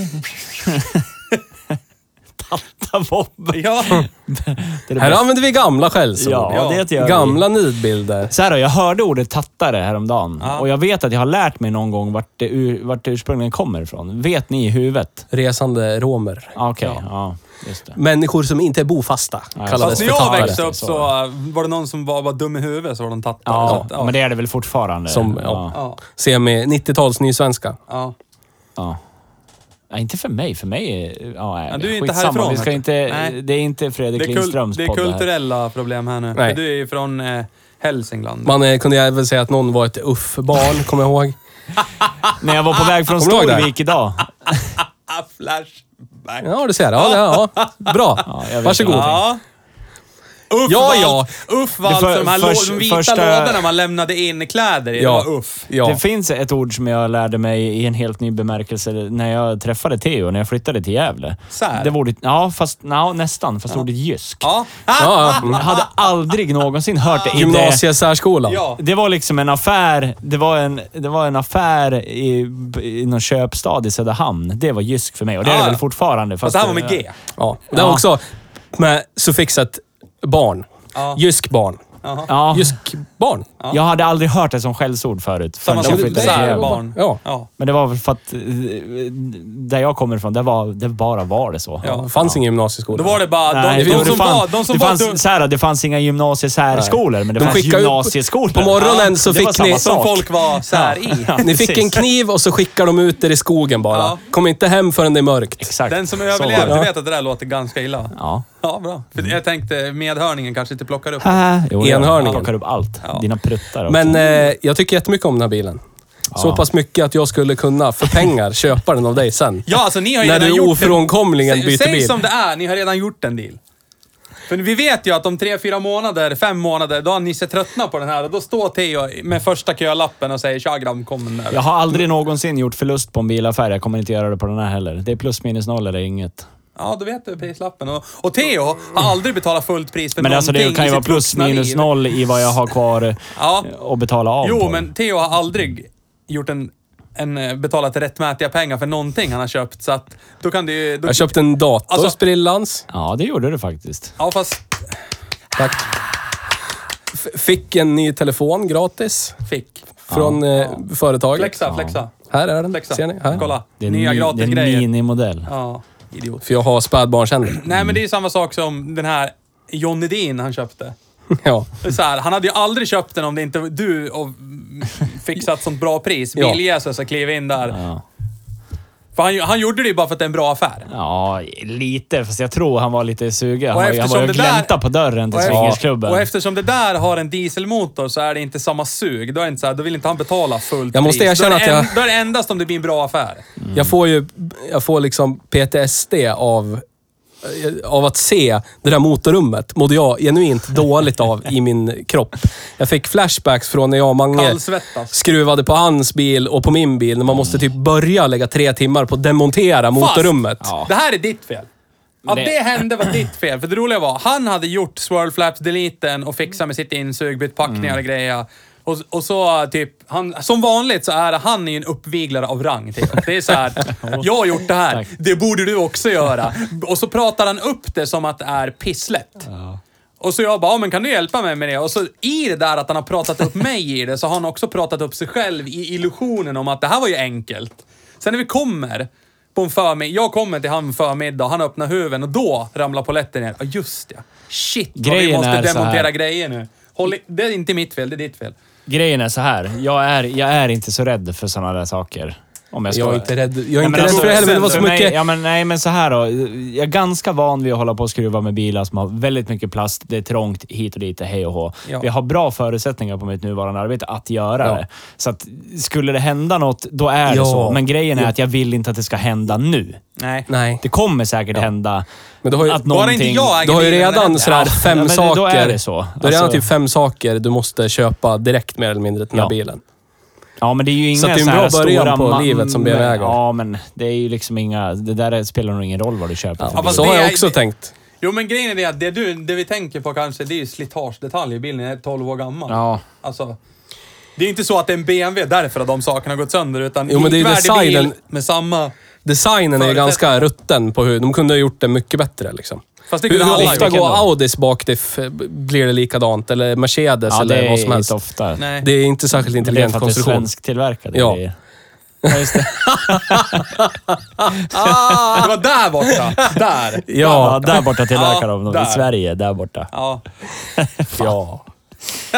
Speaker 2: Tattavobb.
Speaker 3: Ja,
Speaker 2: Det är det
Speaker 5: Här
Speaker 2: bästa.
Speaker 5: använder vi gamla skällsord.
Speaker 2: Ja,
Speaker 3: Ja.
Speaker 2: det gör vi.
Speaker 5: Gamla nidbilder.
Speaker 2: Så här då, jag hörde ordet tattare häromdagen
Speaker 3: Ja.
Speaker 2: och jag vet att jag har lärt mig någon gång vart det, ur, vart det ursprungligen kommer ifrån. Vet ni i huvudet?
Speaker 5: Resande romer.
Speaker 2: Ah, Okej, ja. just det.
Speaker 5: Människor som inte är bofasta kallades
Speaker 3: fast
Speaker 5: för
Speaker 3: när jag
Speaker 5: tattare.
Speaker 3: växte upp
Speaker 2: Så.
Speaker 3: så eh, var det någon som var, var dum i huvudet så var de tattare. Så
Speaker 2: Ja,
Speaker 3: att, ja.
Speaker 2: men det är det väl fortfarande?
Speaker 5: Som,
Speaker 2: ja.
Speaker 5: ja.
Speaker 2: Ja.
Speaker 3: Ja,
Speaker 5: Semi 90-tals nysvenska.
Speaker 3: ja.
Speaker 2: Nej, inte för mig. För mig är... Ja, nej,
Speaker 3: Ja, du är inte
Speaker 2: skitsamma.
Speaker 3: härifrån,
Speaker 2: Vi ska
Speaker 3: vet du.
Speaker 2: inte,
Speaker 3: Nej.
Speaker 2: det är inte
Speaker 3: Det
Speaker 2: Fredrik
Speaker 3: är, kul,
Speaker 2: Lindströms
Speaker 3: det är
Speaker 2: podd det här.
Speaker 3: kulturella problem här nu.
Speaker 5: Nej.
Speaker 3: Du är ju från eh, Hälsingland.
Speaker 5: Man eh, kunde även säga att någon var ett uff-barn, kommer jag ihåg.
Speaker 2: När jag var på väg från
Speaker 5: Kommer du ihåg det?
Speaker 2: Storvik idag.
Speaker 3: Ah, flashback. Nej.
Speaker 5: Ja, du ser. Ja, ja. ja. Bra.
Speaker 2: jag vet
Speaker 5: Varsågod.
Speaker 2: inte.
Speaker 3: Ja. Uff
Speaker 5: Ja,
Speaker 3: var
Speaker 5: ja.
Speaker 3: allt- Uff var
Speaker 2: Det
Speaker 3: allt
Speaker 2: för-
Speaker 3: som de här
Speaker 2: förs-
Speaker 3: lå- de vita
Speaker 2: första-
Speaker 3: lådorna man lämnade in kläder i.
Speaker 5: Ja.
Speaker 3: Det var uff.
Speaker 5: Ja.
Speaker 2: Det finns ett ord som jag lärde mig i en helt ny bemärkelse när jag träffade Theo, när jag flyttade till Gävle.
Speaker 3: Sär.
Speaker 2: Det var ordet, ja, fast, ja, nästan, fast ordet jysk.
Speaker 3: Ja. Ah,
Speaker 5: Ja,
Speaker 2: Mm. Jag hade aldrig någonsin hört det i det.
Speaker 5: Gymnasiesärskolan.
Speaker 3: ja.
Speaker 2: Det var liksom en affär. Det var en, det var en affär i, i någon köpstad i Söderhamn. Det var Jysk för mig och det är det
Speaker 3: Ah.
Speaker 2: väl fortfarande.
Speaker 3: Fast det här var med G.
Speaker 5: Ja. Det är
Speaker 2: Ja.
Speaker 5: också med suffixet barn.
Speaker 3: Ja.
Speaker 5: Jysk barn.
Speaker 2: Ja,
Speaker 5: Jysk barn.
Speaker 2: jag hade aldrig hört det som skällsord förut.
Speaker 3: Samma
Speaker 2: förrän
Speaker 3: som
Speaker 2: jag
Speaker 5: det-
Speaker 2: flyttade
Speaker 5: det är-
Speaker 2: till Gävle.
Speaker 3: särbarn.
Speaker 5: Ja.
Speaker 3: Ja.
Speaker 2: Men det var väl för att eh, där jag kommer ifrån, det, var, det bara var det så.
Speaker 5: Det fanns ingen gymnasieskola.
Speaker 3: Då var det bara de,
Speaker 2: Nej, det-
Speaker 3: de,
Speaker 2: det
Speaker 3: som
Speaker 2: fan-
Speaker 3: var... De som
Speaker 2: det,
Speaker 3: var
Speaker 2: fanns,
Speaker 3: dum-
Speaker 2: så här, det fanns inga gymnasiesärskolor, men det
Speaker 5: De
Speaker 2: fanns
Speaker 5: skickade upp-
Speaker 2: gymnasieskolor.
Speaker 5: på morgonen så
Speaker 2: det var
Speaker 5: fick
Speaker 2: samma
Speaker 5: ni-
Speaker 3: som
Speaker 2: sak.
Speaker 3: folk var sär i.
Speaker 2: Ja,
Speaker 5: Ni fick
Speaker 2: precis.
Speaker 5: en kniv och så skickar de ut er i skogen bara.
Speaker 3: Ja.
Speaker 5: Kom inte hem förrän det är mörkt.
Speaker 2: Exakt.
Speaker 3: Den som
Speaker 2: Så var det. Mm.
Speaker 3: överlevde vet att det där låter ganska illa.
Speaker 2: Ja.
Speaker 3: Ja, bra. För jag tänkte medhörningen kanske inte plockar upp.
Speaker 2: Haha. Jo, jag
Speaker 5: Enhörningen.
Speaker 2: plockar upp allt.
Speaker 3: Äh, Ja.
Speaker 2: Dina pruttar också.
Speaker 5: Men eh, jag tycker jättemycket om den här bilen. Så
Speaker 2: Ja.
Speaker 5: pass mycket att jag skulle kunna, för pengar, köpa den av dig sen.
Speaker 3: Ja, alltså ni har ju
Speaker 5: När
Speaker 3: redan
Speaker 5: du
Speaker 3: gjort en-
Speaker 5: ofrånkomligen
Speaker 3: Säg-
Speaker 5: byter
Speaker 3: Säg
Speaker 5: bil.
Speaker 3: som det är, ni har redan gjort en deal. För vi vet ju att om tre, fyra månader, fem månader, då har Nisse tröttnat på den här och då står Theo med första kölappen och säger “Tja grabb, kom den där”.
Speaker 2: Jag har aldrig någonsin gjort förlust på en bilaffär. Jag kommer inte göra det på den här heller. Det är plus minus noll eller inget.
Speaker 3: Ja, då vet du prislappen. Och, och Theo har aldrig betalat fullt pris för
Speaker 2: Men alltså
Speaker 3: någonting
Speaker 2: det kan
Speaker 3: i
Speaker 2: ju
Speaker 3: sitt
Speaker 2: vara plus
Speaker 3: vuxna
Speaker 2: minus
Speaker 3: liv.
Speaker 2: noll i vad jag har kvar
Speaker 3: Ja.
Speaker 2: och betala av på.
Speaker 3: Jo, men Theo har aldrig gjort en, en eh, betalat rättmätiga pengar för någonting han har köpt, så att då kan det ju... Då,
Speaker 5: Jag köpte en dator,
Speaker 3: Alltså-
Speaker 5: sprillans.
Speaker 2: Ja, det gjorde du faktiskt.
Speaker 3: Ja, fast
Speaker 5: Tack. F- fick en ny telefon gratis
Speaker 3: fick.
Speaker 5: från eh, företaget.
Speaker 3: Flexa, flexa.
Speaker 5: Här är den.
Speaker 3: Flexa.
Speaker 5: Ser ni? Här.
Speaker 3: Kolla.
Speaker 2: Det är,
Speaker 3: Nya
Speaker 2: mi-
Speaker 3: gratis
Speaker 2: det är
Speaker 3: grejer.
Speaker 2: en minimodell.
Speaker 3: Ja, idiot.
Speaker 5: För jag har spädbarnshänder.
Speaker 3: Nej, men det är samma sak som den här Johnny Dean han köpte.
Speaker 5: ja.
Speaker 3: Det är Så här, han hade ju aldrig köpt den om det inte var du och mm, fixat sånt bra pris.
Speaker 5: Ja.
Speaker 3: Biljäsus och klev in där.
Speaker 2: Ja.
Speaker 3: För han, han gjorde det ju bara för att det är en bra affär.
Speaker 2: ja, lite. Fast jag tror han var lite sugen.
Speaker 3: Och
Speaker 2: Han var ju- han
Speaker 3: eftersom
Speaker 2: var ju och
Speaker 3: det där-
Speaker 2: gläntade på dörren till
Speaker 3: Och,
Speaker 2: swingersklubben.
Speaker 3: och eftersom det där har en dieselmotor så är det inte samma sug. Då, är det inte så här, då vill inte han betala fullt
Speaker 5: Jag måste
Speaker 3: pris. då,
Speaker 5: erkänna
Speaker 3: är det
Speaker 5: att
Speaker 3: en-
Speaker 5: jag-
Speaker 3: då är det endast om det blir en bra affär.
Speaker 2: Mm.
Speaker 5: Jag får ju jag får liksom PTSD av, eh, av att se det där motorrummet. Mådde jag genuint dåligt av i min kropp. Jag fick flashbacks från när jag och Mange
Speaker 3: Kallsvettas.
Speaker 5: skruvade på hans bil och på min bil. När man måste
Speaker 2: Mm.
Speaker 5: typ börja lägga tre timmar på att demontera motorrummet.
Speaker 2: Ja.
Speaker 3: Det här är ditt fel. Att det...
Speaker 2: Det-
Speaker 3: hände var ditt fel. För det roliga var, han hade gjort swirl flaps deleten och fixat med sitt insug, bytt packningar
Speaker 2: Mm.
Speaker 3: och grejer. Och, och så eh, typ, han, som vanligt så är det- han är ju en uppviglare av rang. Typ. Det är så här, jag har gjort det här,
Speaker 2: Tack.
Speaker 3: det borde du också göra. Och så pratar han upp det som att det är pisslätt. Och så jag bara, "Ja, men kan du hjälpa mig med det? Och så i det där att han har pratat upp mig i det, så har han också pratat upp sig själv i illusionen om att det här var ju enkelt. Sen när vi kommer på en förmiddag, jag kommer till han förmiddag, han öppnar huven och då ramlar polletten ner. Ja, just det. Shit, vad vi
Speaker 2: Grejen
Speaker 3: måste
Speaker 2: är så
Speaker 3: demontera
Speaker 2: här.
Speaker 3: grejer nu. Håll i, det är inte mitt fel, det är ditt fel.
Speaker 2: Grejen är så här. Jag är, jag är inte så rädd för sådana där saker. Om jag, ska
Speaker 5: Jag är
Speaker 2: vara-
Speaker 5: inte rädd. Jag är
Speaker 2: Nej, men
Speaker 5: inte rädd
Speaker 2: alltså,
Speaker 5: för det heller, men det var så
Speaker 2: för
Speaker 5: mycket...
Speaker 2: Mig, ja, men, nej, men så här då. Jag är ganska van vid att hålla på och skruva med bilar som har väldigt mycket plast. Det är trångt hit och dit, och hej och hå.
Speaker 3: Ja.
Speaker 2: Vi har bra förutsättningar på mitt nuvarande arbete att göra
Speaker 5: Ja.
Speaker 2: det. Så att, skulle det hända något, då är
Speaker 5: Ja.
Speaker 2: det så. Men grejen är att jag vill inte att det ska hända nu.
Speaker 3: Nej.
Speaker 5: Nej.
Speaker 2: Det kommer säkert hända
Speaker 5: Men du har ju-
Speaker 2: att
Speaker 3: Bara
Speaker 2: någonting...
Speaker 3: inte jag
Speaker 5: Du har ju
Speaker 3: äger bilen,
Speaker 5: redan
Speaker 3: eller?
Speaker 5: sådär
Speaker 2: Ja,
Speaker 5: fem
Speaker 2: men
Speaker 5: saker.
Speaker 2: då är det så.
Speaker 5: Du har redan
Speaker 2: Alltså-
Speaker 5: typ fem saker du måste köpa direkt mer eller mindre till den här
Speaker 2: Ja.
Speaker 5: bilen.
Speaker 2: Ja, men det är ju inga
Speaker 5: Så att det är en
Speaker 2: så här
Speaker 5: bra början
Speaker 2: stora
Speaker 5: på
Speaker 2: man-
Speaker 5: livet som BMW äger.
Speaker 2: Ja, men det är ju liksom inga... Det där spelar nog ingen roll vad du köper för
Speaker 3: Ja,
Speaker 2: bil.
Speaker 3: fast
Speaker 5: så har
Speaker 3: det
Speaker 5: jag
Speaker 3: är-
Speaker 5: också tänkt.
Speaker 3: Jo, men grejen är det att det, du, det vi tänker på kanske, det är ju slitagedetaljer. Bilen är 12 år gammal.
Speaker 2: Ja.
Speaker 3: Alltså, det är inte så att det är en BMW därför att de sakerna har gått sönder, utan
Speaker 5: Jo, men det är ju
Speaker 3: likvärdig
Speaker 5: designen-
Speaker 3: bil med samma...
Speaker 5: Designen är ju ganska rutten på hur... De kunde ha gjort det mycket bättre liksom.
Speaker 3: Fast det
Speaker 5: Hur,
Speaker 3: kunde alla
Speaker 5: hur
Speaker 3: ha
Speaker 5: ofta
Speaker 3: gjort.
Speaker 5: går Audis bakdiff? eh, b- Blir det likadant? Eller Mercedes
Speaker 2: Ja, det
Speaker 5: eller vad som
Speaker 2: är
Speaker 5: helst?
Speaker 2: inte ofta.
Speaker 3: Nej.
Speaker 5: Det är inte särskilt
Speaker 2: Men Det är
Speaker 5: intelligent
Speaker 2: för att det är
Speaker 5: konstruktion.
Speaker 2: svensktillverkade
Speaker 5: Ja.
Speaker 2: grejer. Ja, just det.
Speaker 3: Ah, det var där borta! Där!
Speaker 2: Ja, där borta tillverkar
Speaker 3: Ja,
Speaker 2: de dem.
Speaker 3: där.
Speaker 2: I Sverige, där borta.
Speaker 3: Ja.
Speaker 5: Ja.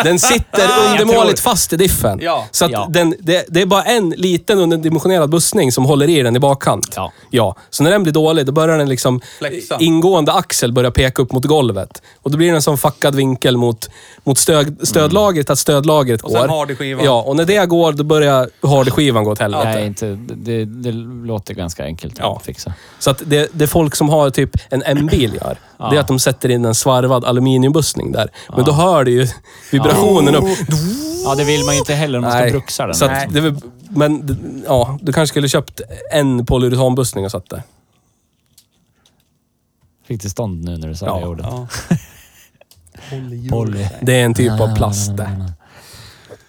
Speaker 5: Den sitter undermåligt fast i diffen.
Speaker 3: Ja.
Speaker 5: Så att
Speaker 2: Ja.
Speaker 5: Den, det, det är bara en liten underdimensionerad bussning som håller i den i bakkant.
Speaker 2: Ja.
Speaker 5: Så när den blir dålig, då börjar den liksom...
Speaker 3: Flexa.
Speaker 5: Ingående axel börjar peka upp mot golvet. Och då blir det en sån fuckad vinkel mot, mot stöd, stödlagret, att stödlagret
Speaker 3: Och
Speaker 5: går.
Speaker 3: sen hardskivan.
Speaker 5: Ja, och när det går, då börjar hardskivan gå åt helvete.
Speaker 2: Nej, inte, det, det låter ganska enkelt
Speaker 5: Ja.
Speaker 2: att fixa.
Speaker 5: Så att det, det folk som har typ en M-bil gör, det är att de sätter in en svarvad aluminiumbussning där. Men då hör du ju vibrationen upp.
Speaker 2: Ja, det vill man ju inte heller om man ska bruxa den.
Speaker 5: Så att
Speaker 2: Nej.
Speaker 5: det, är väl- men d- ja, du kanske skulle köpt en polyuretanbussning och satt där.
Speaker 2: Fick till stånd nu när du sa
Speaker 5: Ja.
Speaker 2: det ordet.
Speaker 3: Ja.
Speaker 2: Poly,
Speaker 5: Det är en typ av plast det.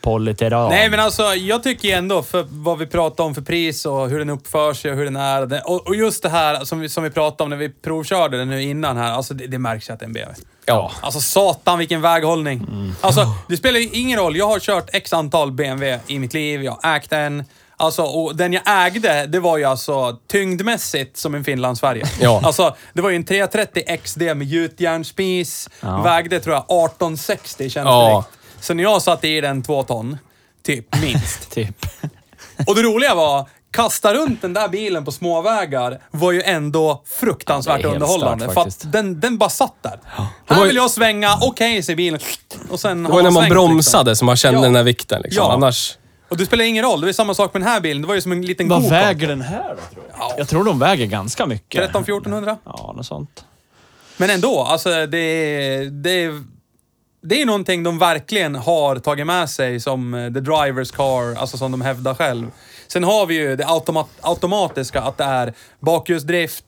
Speaker 2: polyteran.
Speaker 3: Nej, men alltså jag tycker ju ändå för vad vi pratar om för pris och hur den uppför sig och hur den är. Det- Och, och just det här som vi, som vi pratade om när vi provkörde den nu innan här. Alltså det, det märks ju att det är en BMW.
Speaker 5: Ja.
Speaker 3: Alltså satan vilken väghållning.
Speaker 5: Mm.
Speaker 3: Alltså det spelar ju ingen roll. Jag har kört x antal BMW i mitt liv. Jag har ägt en. Alltså, och den jag ägde, det var ju alltså tyngdmässigt som en Finland-Sverige.
Speaker 5: Ja.
Speaker 3: Alltså, det var ju en 330 XD med gjutjärnsspis.
Speaker 2: Ja.
Speaker 3: Vägde tror jag 1860 känns
Speaker 5: Ja.
Speaker 3: det direkt. Så när jag satte i den två ton, typ minst.
Speaker 2: Typ.
Speaker 3: Och det roliga var, kasta runt den där bilen på småvägar var ju ändå
Speaker 2: Ja,
Speaker 3: fruktansvärt
Speaker 2: det är helt
Speaker 3: underhållande.
Speaker 2: stört
Speaker 3: för
Speaker 2: faktiskt.
Speaker 3: att den, den bara satt där.
Speaker 5: var
Speaker 3: Här
Speaker 5: ju-
Speaker 3: vill jag svänga, okej säger bilen. Och sen
Speaker 5: Det var ju när man bromsade som man kände
Speaker 3: Ja.
Speaker 5: den här vikten. Liksom.
Speaker 3: Ja.
Speaker 5: Annars...
Speaker 3: liksom. Och det spelar ingen roll, det var ju samma sak med den här bilen. Det var ju som en liten
Speaker 2: Vad
Speaker 3: go-kart.
Speaker 2: väger den här då, tror jag? Jag tror de väger ganska mycket.
Speaker 3: 13 1400
Speaker 2: Ja, något sånt.
Speaker 3: Men ändå, alltså det är... Det är det är någonting de verkligen har tagit med sig som eh, the drivers car, alltså som de hävdar själv. Sen har vi ju det automa- automatiska, att det är bakhjulsdrift,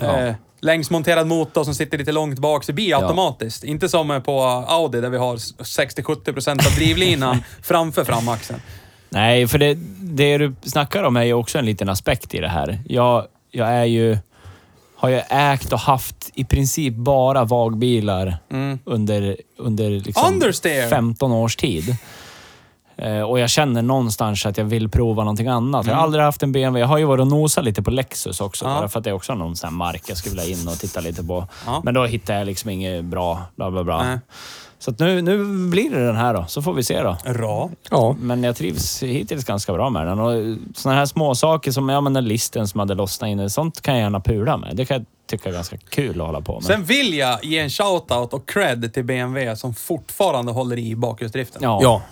Speaker 3: eh, längsmonterad motor som sitter lite långt bak, så det blir automatiskt. Inte som eh, på Audi där vi har s- 60-70% av drivlinan framför framaxeln.
Speaker 2: Nej, för det, det du snackar om är ju också en liten aspekt i det här. Jag, jag är ju... Har ju ägt och haft i princip bara vagbilar
Speaker 3: Mm.
Speaker 2: under, under liksom
Speaker 3: Understeer!
Speaker 2: 15 års tid. Eh, och jag känner någonstans att jag vill prova någonting annat.
Speaker 3: Mm.
Speaker 2: Jag har aldrig haft en BMW. Jag har ju varit och nosat lite på Lexus också. Bara för att det är också någon sån här mark jag skulle vilja in och titta lite på.
Speaker 3: Ja.
Speaker 2: Men då hittar jag liksom inget bra. Bla, bla, bla.
Speaker 3: Nej.
Speaker 2: Så att nu, nu blir det den här då. Så får vi se då.
Speaker 3: Bra.
Speaker 5: Ja.
Speaker 2: Men jag trivs hittills ganska bra med den. Och såna här små saker som ja, men den listen som hade lossnat inne, sånt kan jag gärna pula med. Det kan jag tycka är ganska kul att hålla på med.
Speaker 3: Sen vill jag ge en shout-out och cred till BMW som fortfarande håller i bakhjulsdriften.
Speaker 2: ja.
Speaker 5: ja.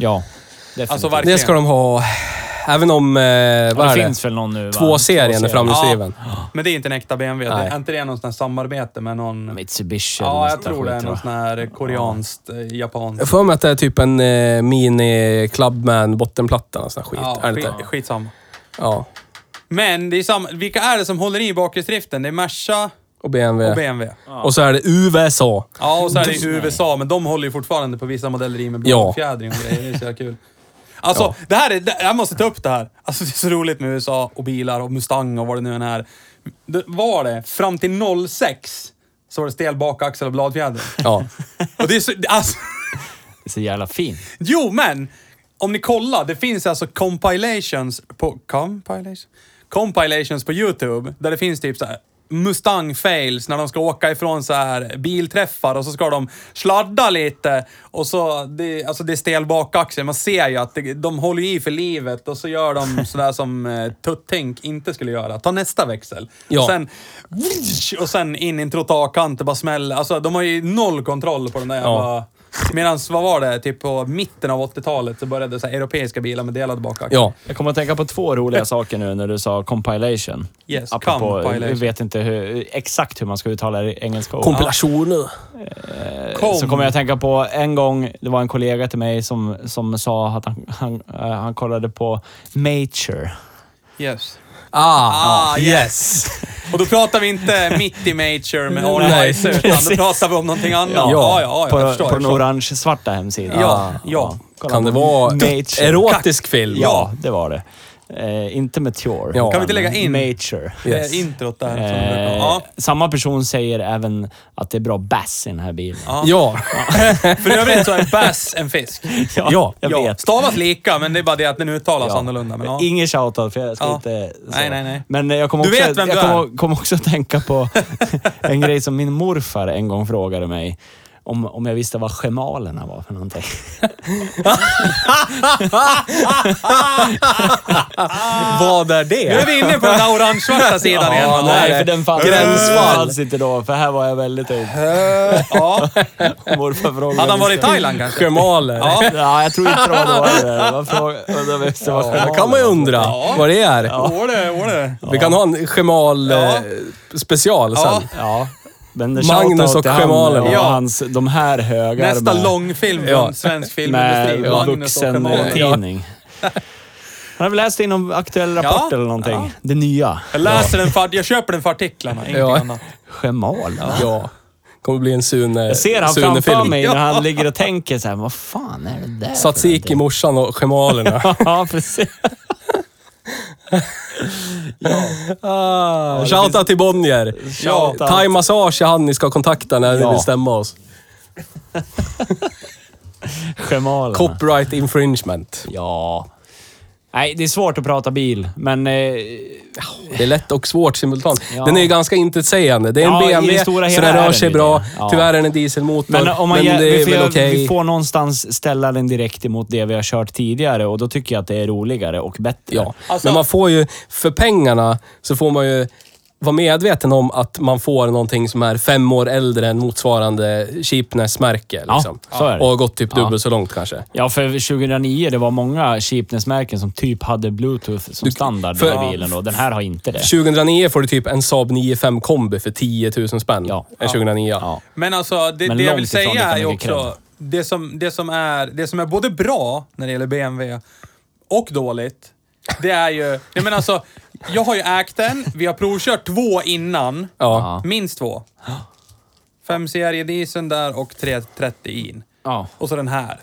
Speaker 2: Ja. Definitivt.
Speaker 3: Alltså verkligen.
Speaker 5: Det ska de ha. Även om... Eh,
Speaker 2: Ja,
Speaker 5: vad
Speaker 2: det,
Speaker 5: är
Speaker 2: finns väl någon nu? va?
Speaker 5: Två serien är
Speaker 2: serier.
Speaker 5: framhjulsdriven.
Speaker 3: Men det är inte en äkta BMW. Det
Speaker 5: Nej.
Speaker 3: är inte det någon sån här samarbete med någon...
Speaker 2: Mitsubishi eller
Speaker 3: Ja,
Speaker 2: något
Speaker 3: jag
Speaker 2: sånt där
Speaker 3: tror det är
Speaker 2: skit,
Speaker 3: någon
Speaker 2: va?
Speaker 3: sån här koreanskt, eh,
Speaker 5: Jag
Speaker 3: japanskt.
Speaker 5: får mig att det är typ en eh, mini Clubman bottenplatta och sån här skit.
Speaker 3: Ja,
Speaker 5: är det
Speaker 3: skit,
Speaker 5: inte?
Speaker 3: skitsamma.
Speaker 5: Ja.
Speaker 3: Men det är samma, vilka är det som håller i bakhjulsdriften? Det är Merca
Speaker 5: Och BMW.
Speaker 3: och BMW.
Speaker 5: Och så är det USA.
Speaker 3: Ja, och så är det i USA, men de håller ju fortfarande på vissa modeller i med
Speaker 5: Ja.
Speaker 3: blåfjädring och grejer. Det är så jävla kul. Alltså, det här är, det, jag måste ta upp det här. Alltså, det är så roligt med USA och bilar och Mustang och vad det nu än är. Det, var det fram till 06 så var det stel bakaxel och bladfjädring.
Speaker 5: Ja.
Speaker 3: Och det är så, alltså,
Speaker 2: Det är så jävla fint.
Speaker 3: Jo, men om ni kollar, det finns alltså compilations på... Compilations? Compilations på YouTube, där det finns typ så här Mustang fails när de ska åka ifrån så här bilträffar och så ska de sladda lite och så, det, alltså det är stel bakaxel. Man ser ju att det, de håller i för livet och så gör de sådär som eh, Tuttink inte skulle göra. Ta nästa växel.
Speaker 5: Ja.
Speaker 3: Och, sen, och sen in i en trottoarkant, det bara smäller. Alltså de har ju noll kontroll på den där jävla... Medan, vad var det? Typ på mitten av 80-talet så började så här, europeiska bilar med delad bakaxel.
Speaker 5: ja.
Speaker 2: Jag kommer att tänka på två roliga saker nu när du sa compilation.
Speaker 3: Yes,
Speaker 2: Apropå,
Speaker 3: compilation.
Speaker 2: Jag vet inte hur, exakt hur man ska uttala det i engelska. ord.
Speaker 5: Kompilationer.
Speaker 3: Kom.
Speaker 2: Eh, Så kommer jag att tänka på en gång, det var en kollega till mig som, som sa att han, han, eh, han kollade på Mature.
Speaker 3: Yes.
Speaker 5: Ah,
Speaker 3: Ah,
Speaker 5: yes.
Speaker 3: Och då pratar vi inte mitt i Mature med All
Speaker 5: Nej,
Speaker 3: Eyes, utan då
Speaker 2: precis.
Speaker 3: pratar vi om någonting annat.
Speaker 2: Ja.
Speaker 3: Ja, ja, ja,
Speaker 2: på
Speaker 3: jag förstår.
Speaker 2: på den
Speaker 3: jag förstår.
Speaker 2: orange-svarta hemsidan.
Speaker 3: Ja, ja.
Speaker 2: Kolla
Speaker 5: Kan
Speaker 2: på
Speaker 5: det vara
Speaker 2: Mature.
Speaker 5: erotisk film?
Speaker 2: Ja, det var det. Eh, inte Mature.
Speaker 5: Ja. Kan
Speaker 3: vi inte lägga in-
Speaker 2: Mature.
Speaker 5: Yes.
Speaker 3: Eh, introt där. Som du brukar-
Speaker 2: Eh,
Speaker 3: ja.
Speaker 2: Samma person säger även att det är bra bass i den här bilen.
Speaker 3: Ja.
Speaker 5: Ja.
Speaker 3: För övrigt så är bass en fisk.
Speaker 5: Ja.
Speaker 2: jag
Speaker 3: Ja,
Speaker 2: vet.
Speaker 3: Stavas lika, men det är bara det att den uttalas annorlunda. Men, ja.
Speaker 2: Ingen shoutout, för jag ska
Speaker 3: Ja.
Speaker 2: inte... Så.
Speaker 3: Nej, nej, nej.
Speaker 2: Men eh, jag kommer
Speaker 3: Du
Speaker 2: också,
Speaker 3: vet vem
Speaker 2: jag
Speaker 3: du är.
Speaker 2: kommer, kommer också att tänka på en grej som min morfar en gång frågade mig. Om, om jag visste vad gemalerna var för någonting.
Speaker 5: Vad är
Speaker 3: Nu är
Speaker 5: det?
Speaker 3: vi inne på den där orange-svarta sidan igen. Eh,
Speaker 2: Ja,
Speaker 3: Manne.
Speaker 2: nej, för den fanns,
Speaker 5: Gränsfall.
Speaker 2: fanns inte då. För här var jag väldigt ung.
Speaker 3: Ja.
Speaker 2: Morfar frågade
Speaker 3: Hade han
Speaker 2: om
Speaker 3: varit i
Speaker 2: det.
Speaker 3: Thailand kanske?
Speaker 5: Gemaler.
Speaker 3: Ja.
Speaker 2: Ja, jag tror inte det var då. det var fråga- undrar vem som var
Speaker 5: Det
Speaker 2: gemalerna.
Speaker 5: kan man ju undra vad det är.
Speaker 3: Åle, åle.
Speaker 5: Vi kan ha en gemal
Speaker 3: Ja.
Speaker 5: eh, special sen.
Speaker 3: Ja.
Speaker 2: Ja. Men det
Speaker 5: Magnus
Speaker 2: shoutout
Speaker 5: och
Speaker 2: till han
Speaker 5: gemalerna.
Speaker 2: och
Speaker 3: Ja.
Speaker 2: Hans, de här högarna.
Speaker 3: Nästa långfilm från
Speaker 5: Ja.
Speaker 3: svensk filmindustri.
Speaker 2: med
Speaker 3: Magnus och
Speaker 2: vuxen
Speaker 3: Kemal.
Speaker 2: eh, tidning. Han har väl läst i någon aktuell rapport
Speaker 3: Ja,
Speaker 2: eller någonting.
Speaker 3: ja.
Speaker 2: Det nya.
Speaker 3: Jag läser den för, jag köper den för artiklarna, ingenting
Speaker 5: Ja.
Speaker 3: annat.
Speaker 2: Gemal.
Speaker 5: Ja. kommer bli en Sune
Speaker 2: Jag ser han
Speaker 5: Sune-film.
Speaker 2: framför mig när han ligger och tänker så här, vad fan är det där? för
Speaker 5: Tzatziki,
Speaker 2: någonting?"
Speaker 5: morsan och gemalerna.
Speaker 2: Ja, precis.
Speaker 5: Ah, Shoutout till Bonnier.
Speaker 2: Ja.
Speaker 5: Thai Massage är han ni ska kontakta när ni
Speaker 2: Ja.
Speaker 5: vill stämma oss.
Speaker 2: Gemalerna.
Speaker 5: Copyright infringement.
Speaker 2: Ja. Nej, det är svårt att prata bil, men... Eh,
Speaker 5: Det är lätt och svårt simultant.
Speaker 2: Ja.
Speaker 5: Den är ju ganska intetsägande. Det är en
Speaker 2: Ja, i det
Speaker 5: BMW,
Speaker 2: stora
Speaker 5: så
Speaker 2: hela
Speaker 5: den
Speaker 2: är
Speaker 5: rör
Speaker 2: den
Speaker 5: sig
Speaker 2: ju
Speaker 5: bra.
Speaker 2: det. Ja.
Speaker 5: Tyvärr är den en dieselmotor,
Speaker 2: men om man
Speaker 5: men
Speaker 2: gör-
Speaker 5: det
Speaker 2: vi, får,
Speaker 5: är väl
Speaker 2: göra-
Speaker 5: okej.
Speaker 2: vi får någonstans ställa den direkt emot det vi har kört tidigare och då tycker jag att det är roligare och bättre.
Speaker 5: Ja,
Speaker 3: Alltså-
Speaker 5: men man får ju, för pengarna så får man ju vara medveten om att man får någonting som är fem år äldre än motsvarande cheapness-märke.
Speaker 2: Ja,
Speaker 5: Liksom.
Speaker 2: så är det.
Speaker 5: Och har gått typ
Speaker 2: Ja.
Speaker 5: dubbelt så långt kanske.
Speaker 2: Ja, för 2009 det var många cheapness-märken som typ hade bluetooth som standard
Speaker 5: för-
Speaker 2: i bilen då. Den här har inte det.
Speaker 5: 2009 får du typ en Saab 9-5 kombi för 10 000 spänn. Eh,
Speaker 2: Ja.
Speaker 5: En 2009.
Speaker 2: Ja.
Speaker 3: Men alltså, det,
Speaker 2: Men
Speaker 3: det jag
Speaker 2: långt
Speaker 3: vill
Speaker 2: ifrån det
Speaker 3: säga
Speaker 2: kan
Speaker 3: är
Speaker 2: ligga
Speaker 3: också... Det som, det, som är, det som är både bra när det gäller BMW och dåligt, det är ju... Nej men alltså, jag har ju ägt den. Vi har provkört två innan.
Speaker 5: Ja.
Speaker 3: Minst två. Fem serie diesel där och 330 in.
Speaker 2: Ja.
Speaker 3: Och så den här.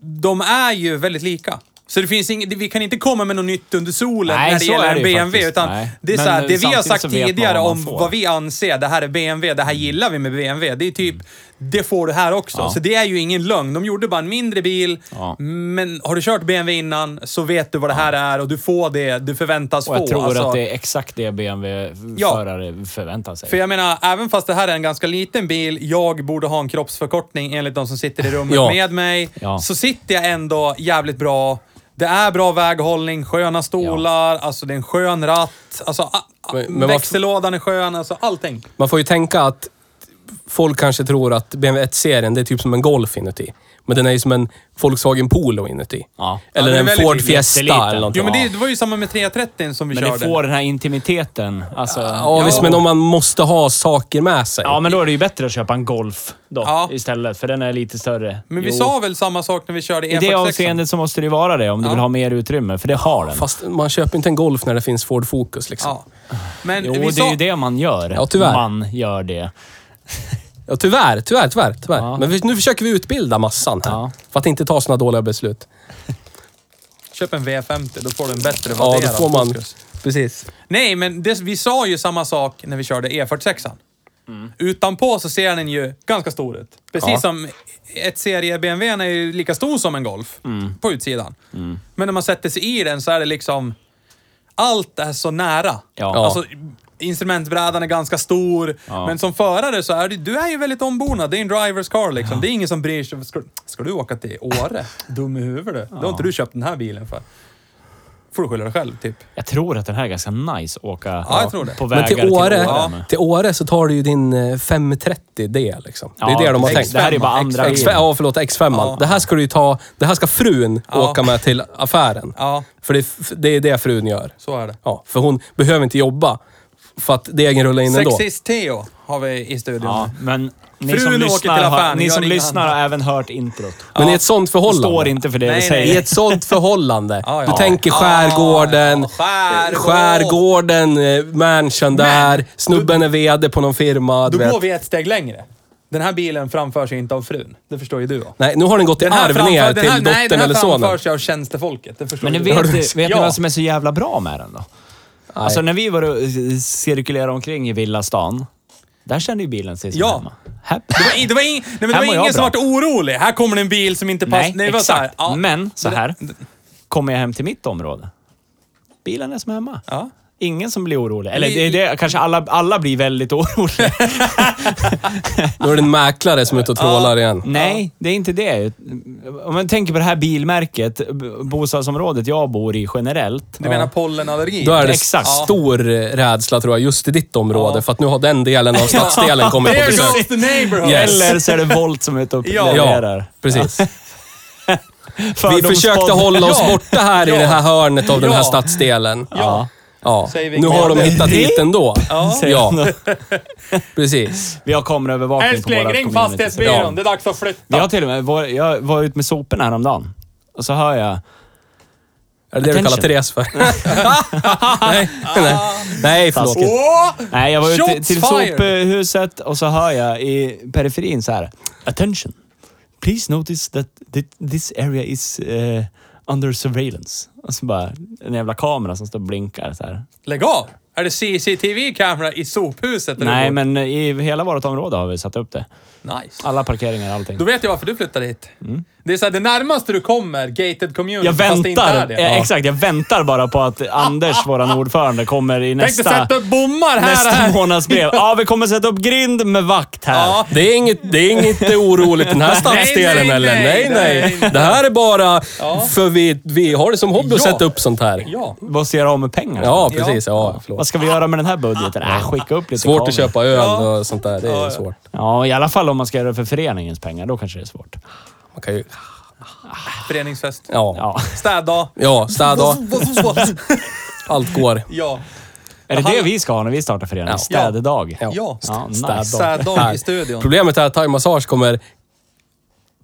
Speaker 3: De är ju väldigt lika. Så det finns ing, vi kan inte komma med något nytt under solen
Speaker 2: Nej,
Speaker 3: när det
Speaker 2: så
Speaker 3: gäller
Speaker 2: är det
Speaker 3: en
Speaker 2: ju
Speaker 3: BMW.
Speaker 2: faktiskt.
Speaker 3: Utan
Speaker 2: Nej.
Speaker 3: det är så
Speaker 2: Men,
Speaker 3: här, det vi har
Speaker 2: samtidigt
Speaker 3: sagt
Speaker 2: så vet man
Speaker 3: tidigare
Speaker 2: vad man
Speaker 3: om
Speaker 2: får.
Speaker 3: vad vi anser, det här är BMW, det här gillar vi med BMW. Det är typ, det får du här också. Så det är ju ingen lögn. De gjorde bara en mindre bil,
Speaker 2: Ja.
Speaker 3: men har du kört BMW innan så vet du vad det här är och du får det du förväntas
Speaker 2: Och jag
Speaker 3: få.
Speaker 2: tror
Speaker 3: Alltså-
Speaker 2: att det är exakt det BMW-förare förväntar sig.
Speaker 3: för jag menar, även fast det här är en ganska liten bil, jag borde ha en kroppsförkortning enligt de som sitter i rummet
Speaker 5: Ja.
Speaker 3: med mig,
Speaker 2: Ja.
Speaker 3: så sitter jag ändå jävligt bra. Det är bra väghållning, sköna stolar, alltså det är en skön ratt, alltså a- a-
Speaker 5: Men- men varför-
Speaker 3: växellådan är skön, alltså allting.
Speaker 5: Man får ju tänka att folk kanske tror att BMW 1-serien, det är typ som en Golf inuti. Men den är ju som en Volkswagen Polo inuti.
Speaker 2: Ja.
Speaker 5: Eller
Speaker 3: Ja, den är
Speaker 5: en
Speaker 3: väldigt
Speaker 5: Ford
Speaker 3: liten.
Speaker 5: Fiesta
Speaker 2: Jätteliten.
Speaker 5: eller någonting.
Speaker 3: Jo men det, det var ju samma med 330 som vi
Speaker 2: men det
Speaker 3: körde.
Speaker 2: får den här intimiteten. Alltså,
Speaker 5: Ja, visst, men om man måste ha saker med sig.
Speaker 2: ja, men då är det ju bättre att köpa en Golf då,
Speaker 3: Ja.
Speaker 2: istället, för den är lite större.
Speaker 3: Men vi
Speaker 2: Jo.
Speaker 3: sa väl samma sak när vi körde
Speaker 2: I det
Speaker 3: E46?
Speaker 2: avseendet så måste det ju vara det, om du
Speaker 3: Ja.
Speaker 2: vill ha mer utrymme, för det har den.
Speaker 5: Fast man köper inte en Golf när det finns Ford Focus liksom.
Speaker 3: Ja. Men
Speaker 2: Jo,
Speaker 3: vi
Speaker 2: det
Speaker 3: sa...
Speaker 2: är ju det man gör.
Speaker 5: Ja, tyvärr.
Speaker 2: Man gör det.
Speaker 5: Ja, tyvärr, tyvärr, tyvärr. tyvärr.
Speaker 2: Ja.
Speaker 5: Men vi, nu försöker vi utbilda massan här.
Speaker 2: Ja.
Speaker 5: För att inte ta sådana dåliga beslut.
Speaker 3: Köp en V50, då får du en bättre
Speaker 5: Ja, då
Speaker 3: värderad
Speaker 5: får man...
Speaker 3: fokus.
Speaker 5: Precis.
Speaker 3: Nej, men det, vi sa ju samma sak när vi körde E46. Utanpå så ser den ju ganska stor ut. Precis
Speaker 5: Ja.
Speaker 3: som ett serie BMW är ju lika stor som en Golf på utsidan. Men när man sätter sig i den så är det liksom... Allt är så nära.
Speaker 2: Ja.
Speaker 3: Alltså, instrumentbrädan är ganska stor,
Speaker 2: Ja.
Speaker 3: men som förare så är du, du är ju väldigt ombonad. Det är en driver's car liksom. Det är ingen som bryr sig. Ska, ska du åka till Åre? Dum i huvudet. Det har inte du köpt den här bilen för. får du skylla dig själv, typ.
Speaker 2: Jag tror att den här är ganska nice att åka
Speaker 3: Ja, jag tror det.
Speaker 2: på
Speaker 5: Men
Speaker 2: vägar
Speaker 5: till Åre,
Speaker 3: Åre
Speaker 2: med.
Speaker 5: till Åre så tar du ju din eh, 530D liksom. Det är
Speaker 2: Ja,
Speaker 5: det de har
Speaker 2: precis.
Speaker 5: tänkt.
Speaker 2: Det här är bara andra
Speaker 5: X5,
Speaker 2: bilen.
Speaker 5: ja, förlåt, X5.
Speaker 3: Ja.
Speaker 5: Det här ska du ju ta... Det här ska frun
Speaker 3: Ja.
Speaker 5: åka med till affären.
Speaker 3: Ja,
Speaker 5: För det, är f- det är det frun gör.
Speaker 3: så är det.
Speaker 5: Ja, för hon behöver inte jobba. För att degen rullar in ändå.
Speaker 3: Sexist-Teo har vi i studion.
Speaker 2: Ja, men ni
Speaker 3: Frun
Speaker 2: som
Speaker 3: åker till
Speaker 2: lyssnar, har,
Speaker 3: affären,
Speaker 2: ni
Speaker 3: gör
Speaker 2: som
Speaker 3: inga
Speaker 2: lyssnar
Speaker 3: andra.
Speaker 2: har även hört introt.
Speaker 5: Men i ett sånt
Speaker 2: Det
Speaker 5: förhållande.
Speaker 2: står inte för det
Speaker 3: Nej,
Speaker 2: vi
Speaker 3: nej.
Speaker 2: säger.
Speaker 5: I ett sånt förhållande.
Speaker 3: Ja, ja.
Speaker 5: Du tänker
Speaker 3: Ja,
Speaker 5: skärgården,
Speaker 3: ja, skärgård.
Speaker 5: skärgården, eh, mansion där, snubben är VD på någon firma. Du
Speaker 3: Då går
Speaker 5: vet.
Speaker 3: vi ett steg längre. Den här bilen framförs ju inte av frun. Det förstår ju du va?
Speaker 5: Nej, nu har den gått i
Speaker 3: Den här
Speaker 5: arv
Speaker 3: framför-
Speaker 5: ner
Speaker 3: den här- nej,
Speaker 5: till
Speaker 3: den
Speaker 5: dottern
Speaker 3: här
Speaker 5: eller sonen.
Speaker 3: framförs ju av tjänstefolket. Det förstår
Speaker 2: Men ni
Speaker 3: ju du.
Speaker 2: vet, vet ni
Speaker 3: Ja.
Speaker 2: vad som är så jävla bra med den då? Alltså när vi var och eh, cirkulerade omkring i villastan, där kände ju bilen sig som
Speaker 3: Ja.
Speaker 2: hemma. Här-
Speaker 3: Nej, Det var, ing, nej, men
Speaker 2: Här
Speaker 3: det var
Speaker 2: mår jag
Speaker 3: ingen som
Speaker 2: bra.
Speaker 3: vart orolig. Här kommer det en bil som inte passar.
Speaker 2: Nej,
Speaker 3: det var
Speaker 2: exakt.
Speaker 3: så här, ja.
Speaker 2: Men så här, kommer jag hem till mitt område, bilen är som hemma.
Speaker 3: Ja.
Speaker 2: Ingen som blir orolig. Eller
Speaker 3: Vi-
Speaker 2: det, det, kanske alla, alla blir väldigt oroliga.
Speaker 5: Nu är det en mäklare som är ute och trålar igen.
Speaker 2: Nej, det är inte det. Om man tänker på det här bilmärket, b- bostadsområdet jag bor i generellt.
Speaker 3: Du menar pollenallergi?
Speaker 5: Då är det
Speaker 2: Exakt.
Speaker 5: stor eh, rädsla tror jag, just i ditt område. För att nu har den delen av stadsdelen kommit på
Speaker 3: There
Speaker 5: besök.
Speaker 3: goes the neighborhood!
Speaker 5: Yes.
Speaker 2: Eller så är det Volt som är ute och
Speaker 3: Ja.
Speaker 2: levererar.
Speaker 5: Precis. Vi
Speaker 2: Fördomspodd.
Speaker 5: försökte hålla oss
Speaker 3: Ja.
Speaker 5: borta här i
Speaker 3: Ja.
Speaker 5: det här hörnet av den här
Speaker 3: Ja.
Speaker 5: stadsdelen.
Speaker 2: Ja.
Speaker 5: Ja.
Speaker 3: Saving
Speaker 5: Nu har de
Speaker 3: Mary.
Speaker 5: hittat hit ändå.
Speaker 2: Säger
Speaker 5: Ja,
Speaker 2: de.
Speaker 5: precis.
Speaker 2: Vi har kameraövervakning på
Speaker 3: Älskling,
Speaker 2: våra
Speaker 3: ring
Speaker 2: community.
Speaker 3: fastighetsbyrån.
Speaker 5: Ja.
Speaker 3: Det är dags att flytta.
Speaker 2: Vi har till och med, var, jag var ute med soporna häromdagen. Och så hör jag...
Speaker 5: Är det det du kallar
Speaker 2: Attention.
Speaker 5: Therese för? nej, nej. nej, förlåt.
Speaker 2: Taskigt.
Speaker 3: Åh!
Speaker 2: Nej, jag var ute
Speaker 3: Shots
Speaker 2: till
Speaker 3: fired!
Speaker 2: sophuset och så hör jag i periferin så här. Attention! Please notice that thi- this area is eh, under surveillance. Och så bara en jävla kamera som står och blinkar så här.
Speaker 3: Lägg av! Är det CCTV-kamera i sophuset? där du
Speaker 2: Nej,
Speaker 3: bor?
Speaker 2: men i hela vårt område har vi satt upp det.
Speaker 3: Nice.
Speaker 2: Alla parkeringar och allting.
Speaker 3: Då vet jag varför du flyttade hit. Det är så här, det närmaste du kommer gated community,
Speaker 2: Mm. Jag
Speaker 3: fast det inte är
Speaker 2: väntar,
Speaker 3: det.
Speaker 2: eh, exakt, jag väntar bara på att Anders, våran ordförande, kommer i
Speaker 3: Tänk dig
Speaker 2: nästa,
Speaker 3: sätta upp bommar här!
Speaker 2: nästa
Speaker 3: här.
Speaker 2: månadsbrev. Ja, vi kommer sätta upp grind med vakt här.
Speaker 3: Ja.
Speaker 5: Det är inget, det är inget oroligt den här stadsdelen
Speaker 3: nej,
Speaker 5: eller?
Speaker 3: nej,
Speaker 5: Nej nej.
Speaker 3: nej.
Speaker 5: Det här är bara
Speaker 3: Ja.
Speaker 5: för vi, vi har det som hobby att
Speaker 3: Ja.
Speaker 5: sätta upp sånt här.
Speaker 3: Ja.
Speaker 2: Vad ska jag göra av med pengarna?
Speaker 5: Ja, precis. Ja,
Speaker 2: Vad
Speaker 5: förlåt.
Speaker 2: ska vi göra med den här budgeten? Äh, skicka upp lite
Speaker 5: Svårt
Speaker 2: kameror.
Speaker 5: att köpa öl
Speaker 3: Ja.
Speaker 5: och sånt där. Det är
Speaker 3: Ja,
Speaker 5: ju
Speaker 3: ja.
Speaker 5: svårt.
Speaker 2: Ja, i alla fall om man ska göra det för föreningens pengar. Då kanske det är svårt.
Speaker 5: Man kan ju...
Speaker 3: Föreningsfest.
Speaker 5: Ja.
Speaker 2: Ja.
Speaker 3: Städdag.
Speaker 5: Ja, städa. Allt går.
Speaker 3: Ja.
Speaker 2: Är det det vi ska ha när vi startar förening?
Speaker 5: Ja.
Speaker 2: Städedag?
Speaker 5: Ja.
Speaker 3: Ja.
Speaker 2: Ja,
Speaker 5: Städdag.
Speaker 2: nice.
Speaker 3: Städdag i studion.
Speaker 5: Problemet är att Thai Massage kommer...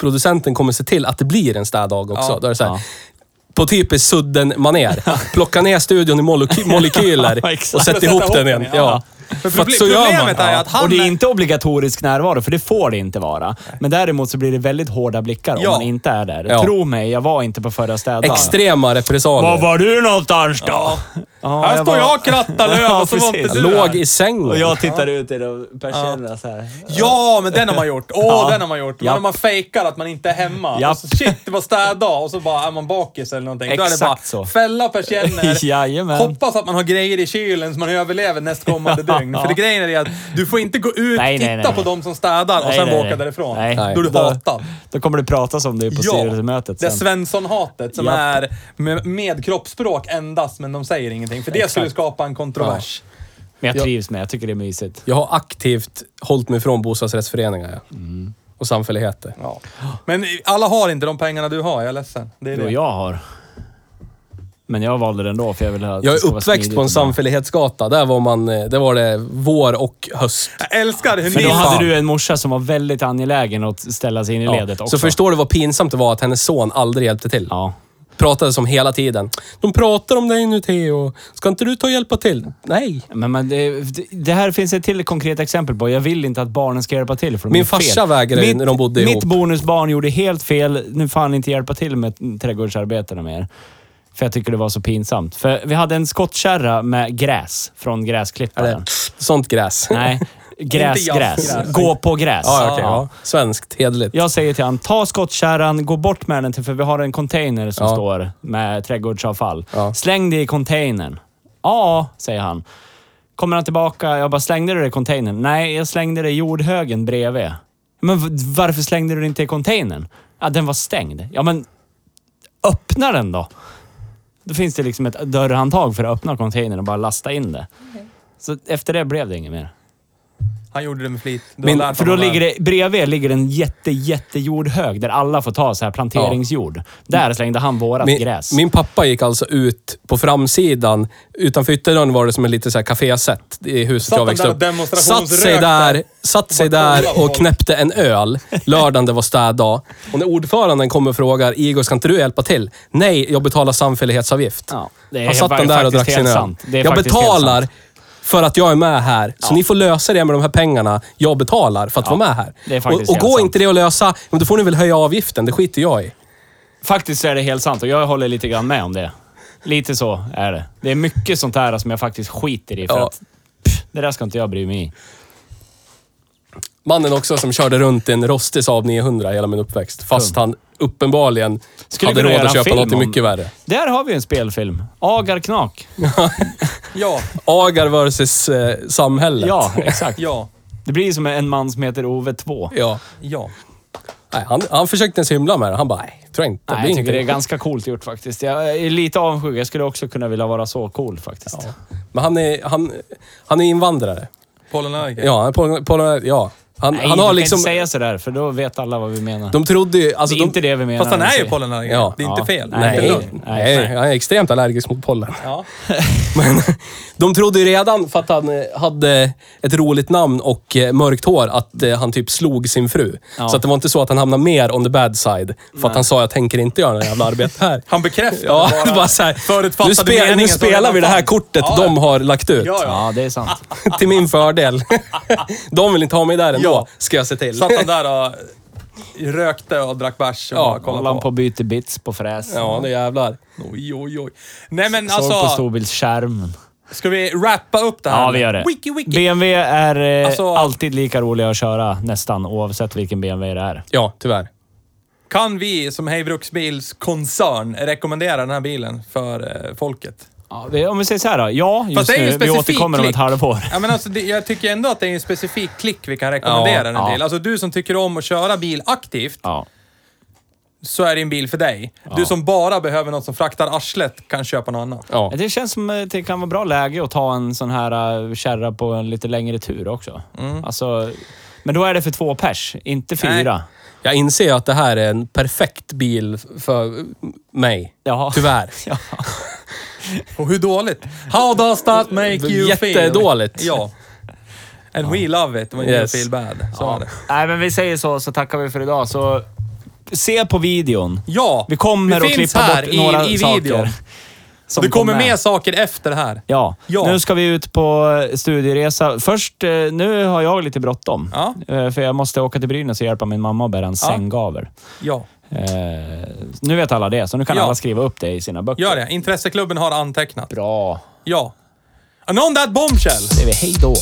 Speaker 5: Producenten kommer se till att det blir en städdag också.
Speaker 3: Ja.
Speaker 5: Då är det så här,
Speaker 2: Ja.
Speaker 5: På typiskt sudden maner Plocka ner studion i moleky- molekyler
Speaker 2: Ja, exakt.
Speaker 5: och sätt ihop den igen. Ja.
Speaker 3: För
Speaker 5: För att
Speaker 3: proble-
Speaker 5: så gör man.
Speaker 3: problemet är
Speaker 5: Ja.
Speaker 3: att han...
Speaker 2: Och det är inte obligatorisk närvaro, för det får det inte vara. Men däremot så blir det väldigt hårda blickar om
Speaker 3: Ja.
Speaker 2: man inte är där.
Speaker 5: Ja.
Speaker 2: Tro mig, jag var inte på förra städdagen.
Speaker 5: Extrema
Speaker 2: Var
Speaker 5: repressalier.
Speaker 2: var du någonstans då?
Speaker 3: Ja.
Speaker 2: Ja,
Speaker 3: Här står
Speaker 2: var-
Speaker 3: jag och krattar löv
Speaker 2: Ja,
Speaker 3: och så var
Speaker 2: precis.
Speaker 3: inte du
Speaker 5: Låg
Speaker 3: här.
Speaker 5: i sängen.
Speaker 2: Och jag tittar ut genom persiennerna så här.
Speaker 3: Ja, men den har man gjort. Åh,
Speaker 2: Ja.
Speaker 3: den har man gjort.
Speaker 2: Japp.
Speaker 3: Man, man fejkar att man inte är hemma.
Speaker 2: Japp.
Speaker 3: Och så, shit, det var städdag och så bara är man bakis eller någonting. Då är det
Speaker 2: Exakt
Speaker 3: bara
Speaker 2: så.
Speaker 3: fälla persienner.
Speaker 2: Jajamän.
Speaker 3: Hoppas att man har grejer i kylen så man överlever nästkommande dygn. För det grejen är det att du får inte gå ut,
Speaker 2: Nej, nej,
Speaker 3: titta
Speaker 2: nej,
Speaker 3: på
Speaker 2: nej.
Speaker 3: dem som städar och
Speaker 2: Nej,
Speaker 3: sen
Speaker 2: nej,
Speaker 3: åka
Speaker 2: nej.
Speaker 3: därifrån.
Speaker 2: Nej.
Speaker 3: Då är du
Speaker 2: Då-
Speaker 3: hatad.
Speaker 2: Då kommer det pratas om det på styrelsemötet
Speaker 3: det är
Speaker 2: sen.
Speaker 3: Svensson-hatet som
Speaker 2: Japp.
Speaker 3: är med, med kroppsspråk endast, men de säger ingenting. För det
Speaker 2: Exakt.
Speaker 3: skulle skapa en kontrovers.
Speaker 2: Men jag trivs med Jag tycker det är mysigt.
Speaker 5: Jag har aktivt hållit mig från bostadsrättsföreningar ja.
Speaker 2: Mm.
Speaker 5: och samfälligheter.
Speaker 3: Ja. Men alla har inte de pengarna du har, jag är ledsen. Det är
Speaker 2: Jo,
Speaker 3: det.
Speaker 2: jag har. Men jag valde den då för jag ville att
Speaker 5: Jag
Speaker 2: det ska
Speaker 5: är
Speaker 2: vara
Speaker 5: uppväxt
Speaker 2: smidigt
Speaker 5: på
Speaker 2: och
Speaker 5: en
Speaker 2: bra.
Speaker 5: samfällighetsgata. Där var, man, eh, där var det vår och höst.
Speaker 3: Jag älskar hur
Speaker 2: För
Speaker 3: ni...
Speaker 2: då
Speaker 5: Fan.
Speaker 2: hade du en morsa som var väldigt angelägen att ställa sig in i
Speaker 5: Ja.
Speaker 2: ledet också.
Speaker 5: Så förstår du vad pinsamt det var att hennes son aldrig hjälpte till.
Speaker 2: Ja.
Speaker 5: Pratades om hela tiden. De pratar om dig nu Theo. Ska inte du ta och hjälpa till? Nej.
Speaker 2: Men, men det, det här finns ett till konkret exempel på. Jag vill inte att barnen ska hjälpa till. För de
Speaker 5: Min
Speaker 2: gör fel.
Speaker 5: farsa vägrade ju när de bodde
Speaker 2: Mitt
Speaker 5: ihop.
Speaker 2: bonusbarn gjorde helt fel. Nu får han inte hjälpa till med trädgårdsarbetena mer. För jag tycker det var så pinsamt. För vi hade en skottkärra med gräs från
Speaker 5: Eller,
Speaker 2: gräsklipparen.
Speaker 5: sånt gräs.
Speaker 2: Nej, gräs,
Speaker 3: Inte
Speaker 2: gräs.
Speaker 3: jazzgräs.
Speaker 2: Gå på gräs.
Speaker 5: Ja, okej, ja. Svenskt, hederligt.
Speaker 2: Jag säger till han, ta skottkärran, gå bort med den till, för vi har en container som
Speaker 5: Ja.
Speaker 2: står med trädgårdsavfall.
Speaker 5: Ja.
Speaker 2: Släng det i containern. Ja, säger han. Kommer han tillbaka, jag bara slängde du det i containern? Nej, jag slängde det i jordhögen bredvid. Men v- varför slängde du det inte i containern? Ja, den var stängd. Ja, men öppna den då. Då finns det liksom ett dörrhandtag för att öppna containern och bara lasta in det. Så efter det blev det inget mer.
Speaker 3: Han gjorde det med flit. Du har
Speaker 5: Min-
Speaker 3: lärt
Speaker 2: För då
Speaker 3: honom
Speaker 2: ligger det, bredvid ligger en jätte, jätte jordhög där alla får ta så här planteringsjord. Där slängde han vårat
Speaker 5: Min,
Speaker 2: gräs.
Speaker 5: min pappa gick alltså ut på framsidan. Utanför ytterdörren var det som en lite så här kafésätt i huset
Speaker 3: Satt
Speaker 5: jag
Speaker 3: han
Speaker 5: växte
Speaker 3: där
Speaker 5: upp.
Speaker 3: och demonstrationsrökte?
Speaker 5: Satt sig där, satt sig där och knäppte en öl. Lördagen det var städdag. Och när ordföranden kommer och frågar Igor, ska inte du hjälpa till? Nej, jag betalar samfällighetsavgift.
Speaker 2: Ja, det är
Speaker 5: Han satt
Speaker 2: fa-
Speaker 5: den där och
Speaker 2: faktiskt
Speaker 5: drack sin
Speaker 2: helt
Speaker 5: öl.
Speaker 2: sant. Det är
Speaker 5: Jag
Speaker 2: faktiskt helt
Speaker 5: betalar
Speaker 2: sant.
Speaker 5: för att jag är med här. Så ni får lösa det med de här pengarna. Jag betalar för att vara med här.
Speaker 2: det är faktiskt
Speaker 5: och och
Speaker 2: helt
Speaker 5: går
Speaker 2: sant.
Speaker 5: inte det att lösa, men då får ni väl höja avgiften. Det skiter jag i.
Speaker 2: Faktiskt är det helt sant och jag håller lite grann med om det. Lite så är det. Det är mycket sånt här som jag faktiskt skiter i för
Speaker 5: Ja.
Speaker 2: att pff, det där ska inte jag bry mig i.
Speaker 5: Mannen också som körde runt i en rostig Saab 900 hela min uppväxt. Fast han uppenbarligen
Speaker 2: Skulle
Speaker 5: hade
Speaker 2: kunna
Speaker 5: råd
Speaker 2: göra
Speaker 5: att
Speaker 2: en
Speaker 5: köpa
Speaker 2: film
Speaker 5: något
Speaker 2: om-
Speaker 5: mycket värre.
Speaker 2: Där har vi en spelfilm. Agar Knak.
Speaker 3: Ja,
Speaker 5: Agar versus eh, samhället.
Speaker 2: Ja, exakt.
Speaker 3: ja,
Speaker 2: Det blir som en man som heter Ove 2.
Speaker 5: ja.
Speaker 3: ja.
Speaker 5: Nej, han, han försökte ens hymla med det. Han bara, nej, tror jag inte.
Speaker 2: Nej,
Speaker 5: blir
Speaker 2: jag tycker det är
Speaker 5: ingenting."
Speaker 2: ganska coolt gjort faktiskt. Jag är lite avundsjuk. Jag skulle också kunna vilja vara så cool faktiskt.
Speaker 5: Men han är, han, han är invandrare.
Speaker 3: Pollenallergiker.
Speaker 5: Ja, han är pol- pol- ja. Han,
Speaker 2: Nej,
Speaker 5: han
Speaker 2: du
Speaker 5: har
Speaker 2: kan
Speaker 5: liksom...
Speaker 2: inte säga sådär, för då vet alla vad vi menar.
Speaker 5: De trodde ju... Alltså,
Speaker 2: det är inte
Speaker 5: de,
Speaker 2: det vi menar.
Speaker 3: Fast han
Speaker 2: vi
Speaker 3: är ju
Speaker 2: säger.
Speaker 3: pollenallergiker.
Speaker 5: Ja.
Speaker 3: Det är inte
Speaker 2: Ja.
Speaker 3: fel.
Speaker 2: Nej.
Speaker 3: Det är
Speaker 5: Nej,
Speaker 3: lugnt.
Speaker 5: nej,
Speaker 2: nej.
Speaker 5: han är extremt allergisk mot pollen.
Speaker 3: Ja.
Speaker 5: Men de trodde ju redan, för att han eh, hade ett roligt namn och eh, mörkt hår, att eh, han typ slog sin fru. Så att det var inte så att han hamnade mer on the bad side. För att han sa, jag tänker inte göra något jävla arbete här.
Speaker 3: Han bekräftar
Speaker 5: Ja, det
Speaker 3: bara.
Speaker 5: bara så här,
Speaker 3: förutfattade
Speaker 5: nu, spel, nu
Speaker 3: meningen som
Speaker 5: spelar
Speaker 3: redan
Speaker 5: vi det här
Speaker 3: fanns."
Speaker 5: kortet
Speaker 3: Ja,
Speaker 5: de har lagt ut.
Speaker 3: Ja, ja. Ah,
Speaker 2: Ja, det är sant.
Speaker 5: Till min fördel. De vill inte ha mig där ändå,
Speaker 3: Ja.
Speaker 5: ska jag se till.
Speaker 3: Satt han där och eh, rökte och drack bärs och
Speaker 5: Ja,
Speaker 3: bara
Speaker 2: Kolla
Speaker 3: kollade
Speaker 2: på
Speaker 3: på.
Speaker 2: byter bits på fräs.
Speaker 5: Ja, nu jävlar.
Speaker 3: Oj, oj, oj. Nej men
Speaker 2: Såg på
Speaker 3: alltså,
Speaker 2: storbildsskärmen.
Speaker 3: ska vi rappa upp det här?
Speaker 2: Ja, vi gör det.
Speaker 3: Wiki, wiki.
Speaker 2: BMW är eh,
Speaker 3: Alltså-
Speaker 2: alltid lika roliga att köra nästan, oavsett vilken BMW det är.
Speaker 5: Ja, tyvärr.
Speaker 3: Kan vi som Hej Bruksbils koncern rekommendera den här bilen för eh, folket?
Speaker 2: Ja, det- om vi säger så här då. Ja, just
Speaker 3: det är ju
Speaker 2: nu.
Speaker 3: en
Speaker 2: Vi
Speaker 3: specifik
Speaker 2: återkommer om ett
Speaker 3: klick.
Speaker 2: halvår.
Speaker 3: Ja, men alltså, det, jag tycker ändå att det är en specifik klick vi kan rekommendera den
Speaker 2: ja.
Speaker 3: till. Alltså du som tycker om att köra bil aktivt,
Speaker 2: Ja.
Speaker 3: så är det en bil för dig. Du som bara behöver något som fraktar arslet kan köpa något annat.
Speaker 5: Ja.
Speaker 2: Det känns som att det kan vara bra läge att ta en sån här eh, kärra på en lite längre tur också.
Speaker 3: Mm.
Speaker 2: Alltså, men då är det för två pers, inte fyra.
Speaker 5: Jag inser ju att det här är en perfekt bil för mig.
Speaker 2: Jaha.
Speaker 5: Tyvärr.
Speaker 3: Och hur dåligt? How does that make you feel?
Speaker 5: Jättedåligt.
Speaker 3: Ja. And we love it when
Speaker 5: Yes.
Speaker 3: you feel bad. Så är det.
Speaker 2: Nej, men vi säger så, så tackar vi för idag. Så se på videon.
Speaker 3: Ja,
Speaker 2: Vi kommer
Speaker 3: det
Speaker 2: att
Speaker 3: finns
Speaker 2: klippa
Speaker 3: här
Speaker 2: bort några
Speaker 3: i, i
Speaker 2: saker.
Speaker 3: videon.
Speaker 2: som
Speaker 3: Det kommer
Speaker 2: kom
Speaker 3: mer saker efter det här.
Speaker 2: Ja.
Speaker 3: Ja.
Speaker 2: nu ska vi ut på eh, studieresa. Först, eh, nu har jag lite bråttom.
Speaker 3: Ja.
Speaker 2: Eh, För jag måste åka till Brynäs och hjälpa min mamma att bära en sänggavel.
Speaker 3: Ja,
Speaker 2: Eh, Nu vet alla det, så nu kan
Speaker 3: Ja.
Speaker 2: alla skriva upp det i sina böcker.
Speaker 3: gör det. Intresseklubben har antecknat.
Speaker 2: Bra.
Speaker 3: Ja. And on that bombshell!
Speaker 2: Det är vi. Hej då.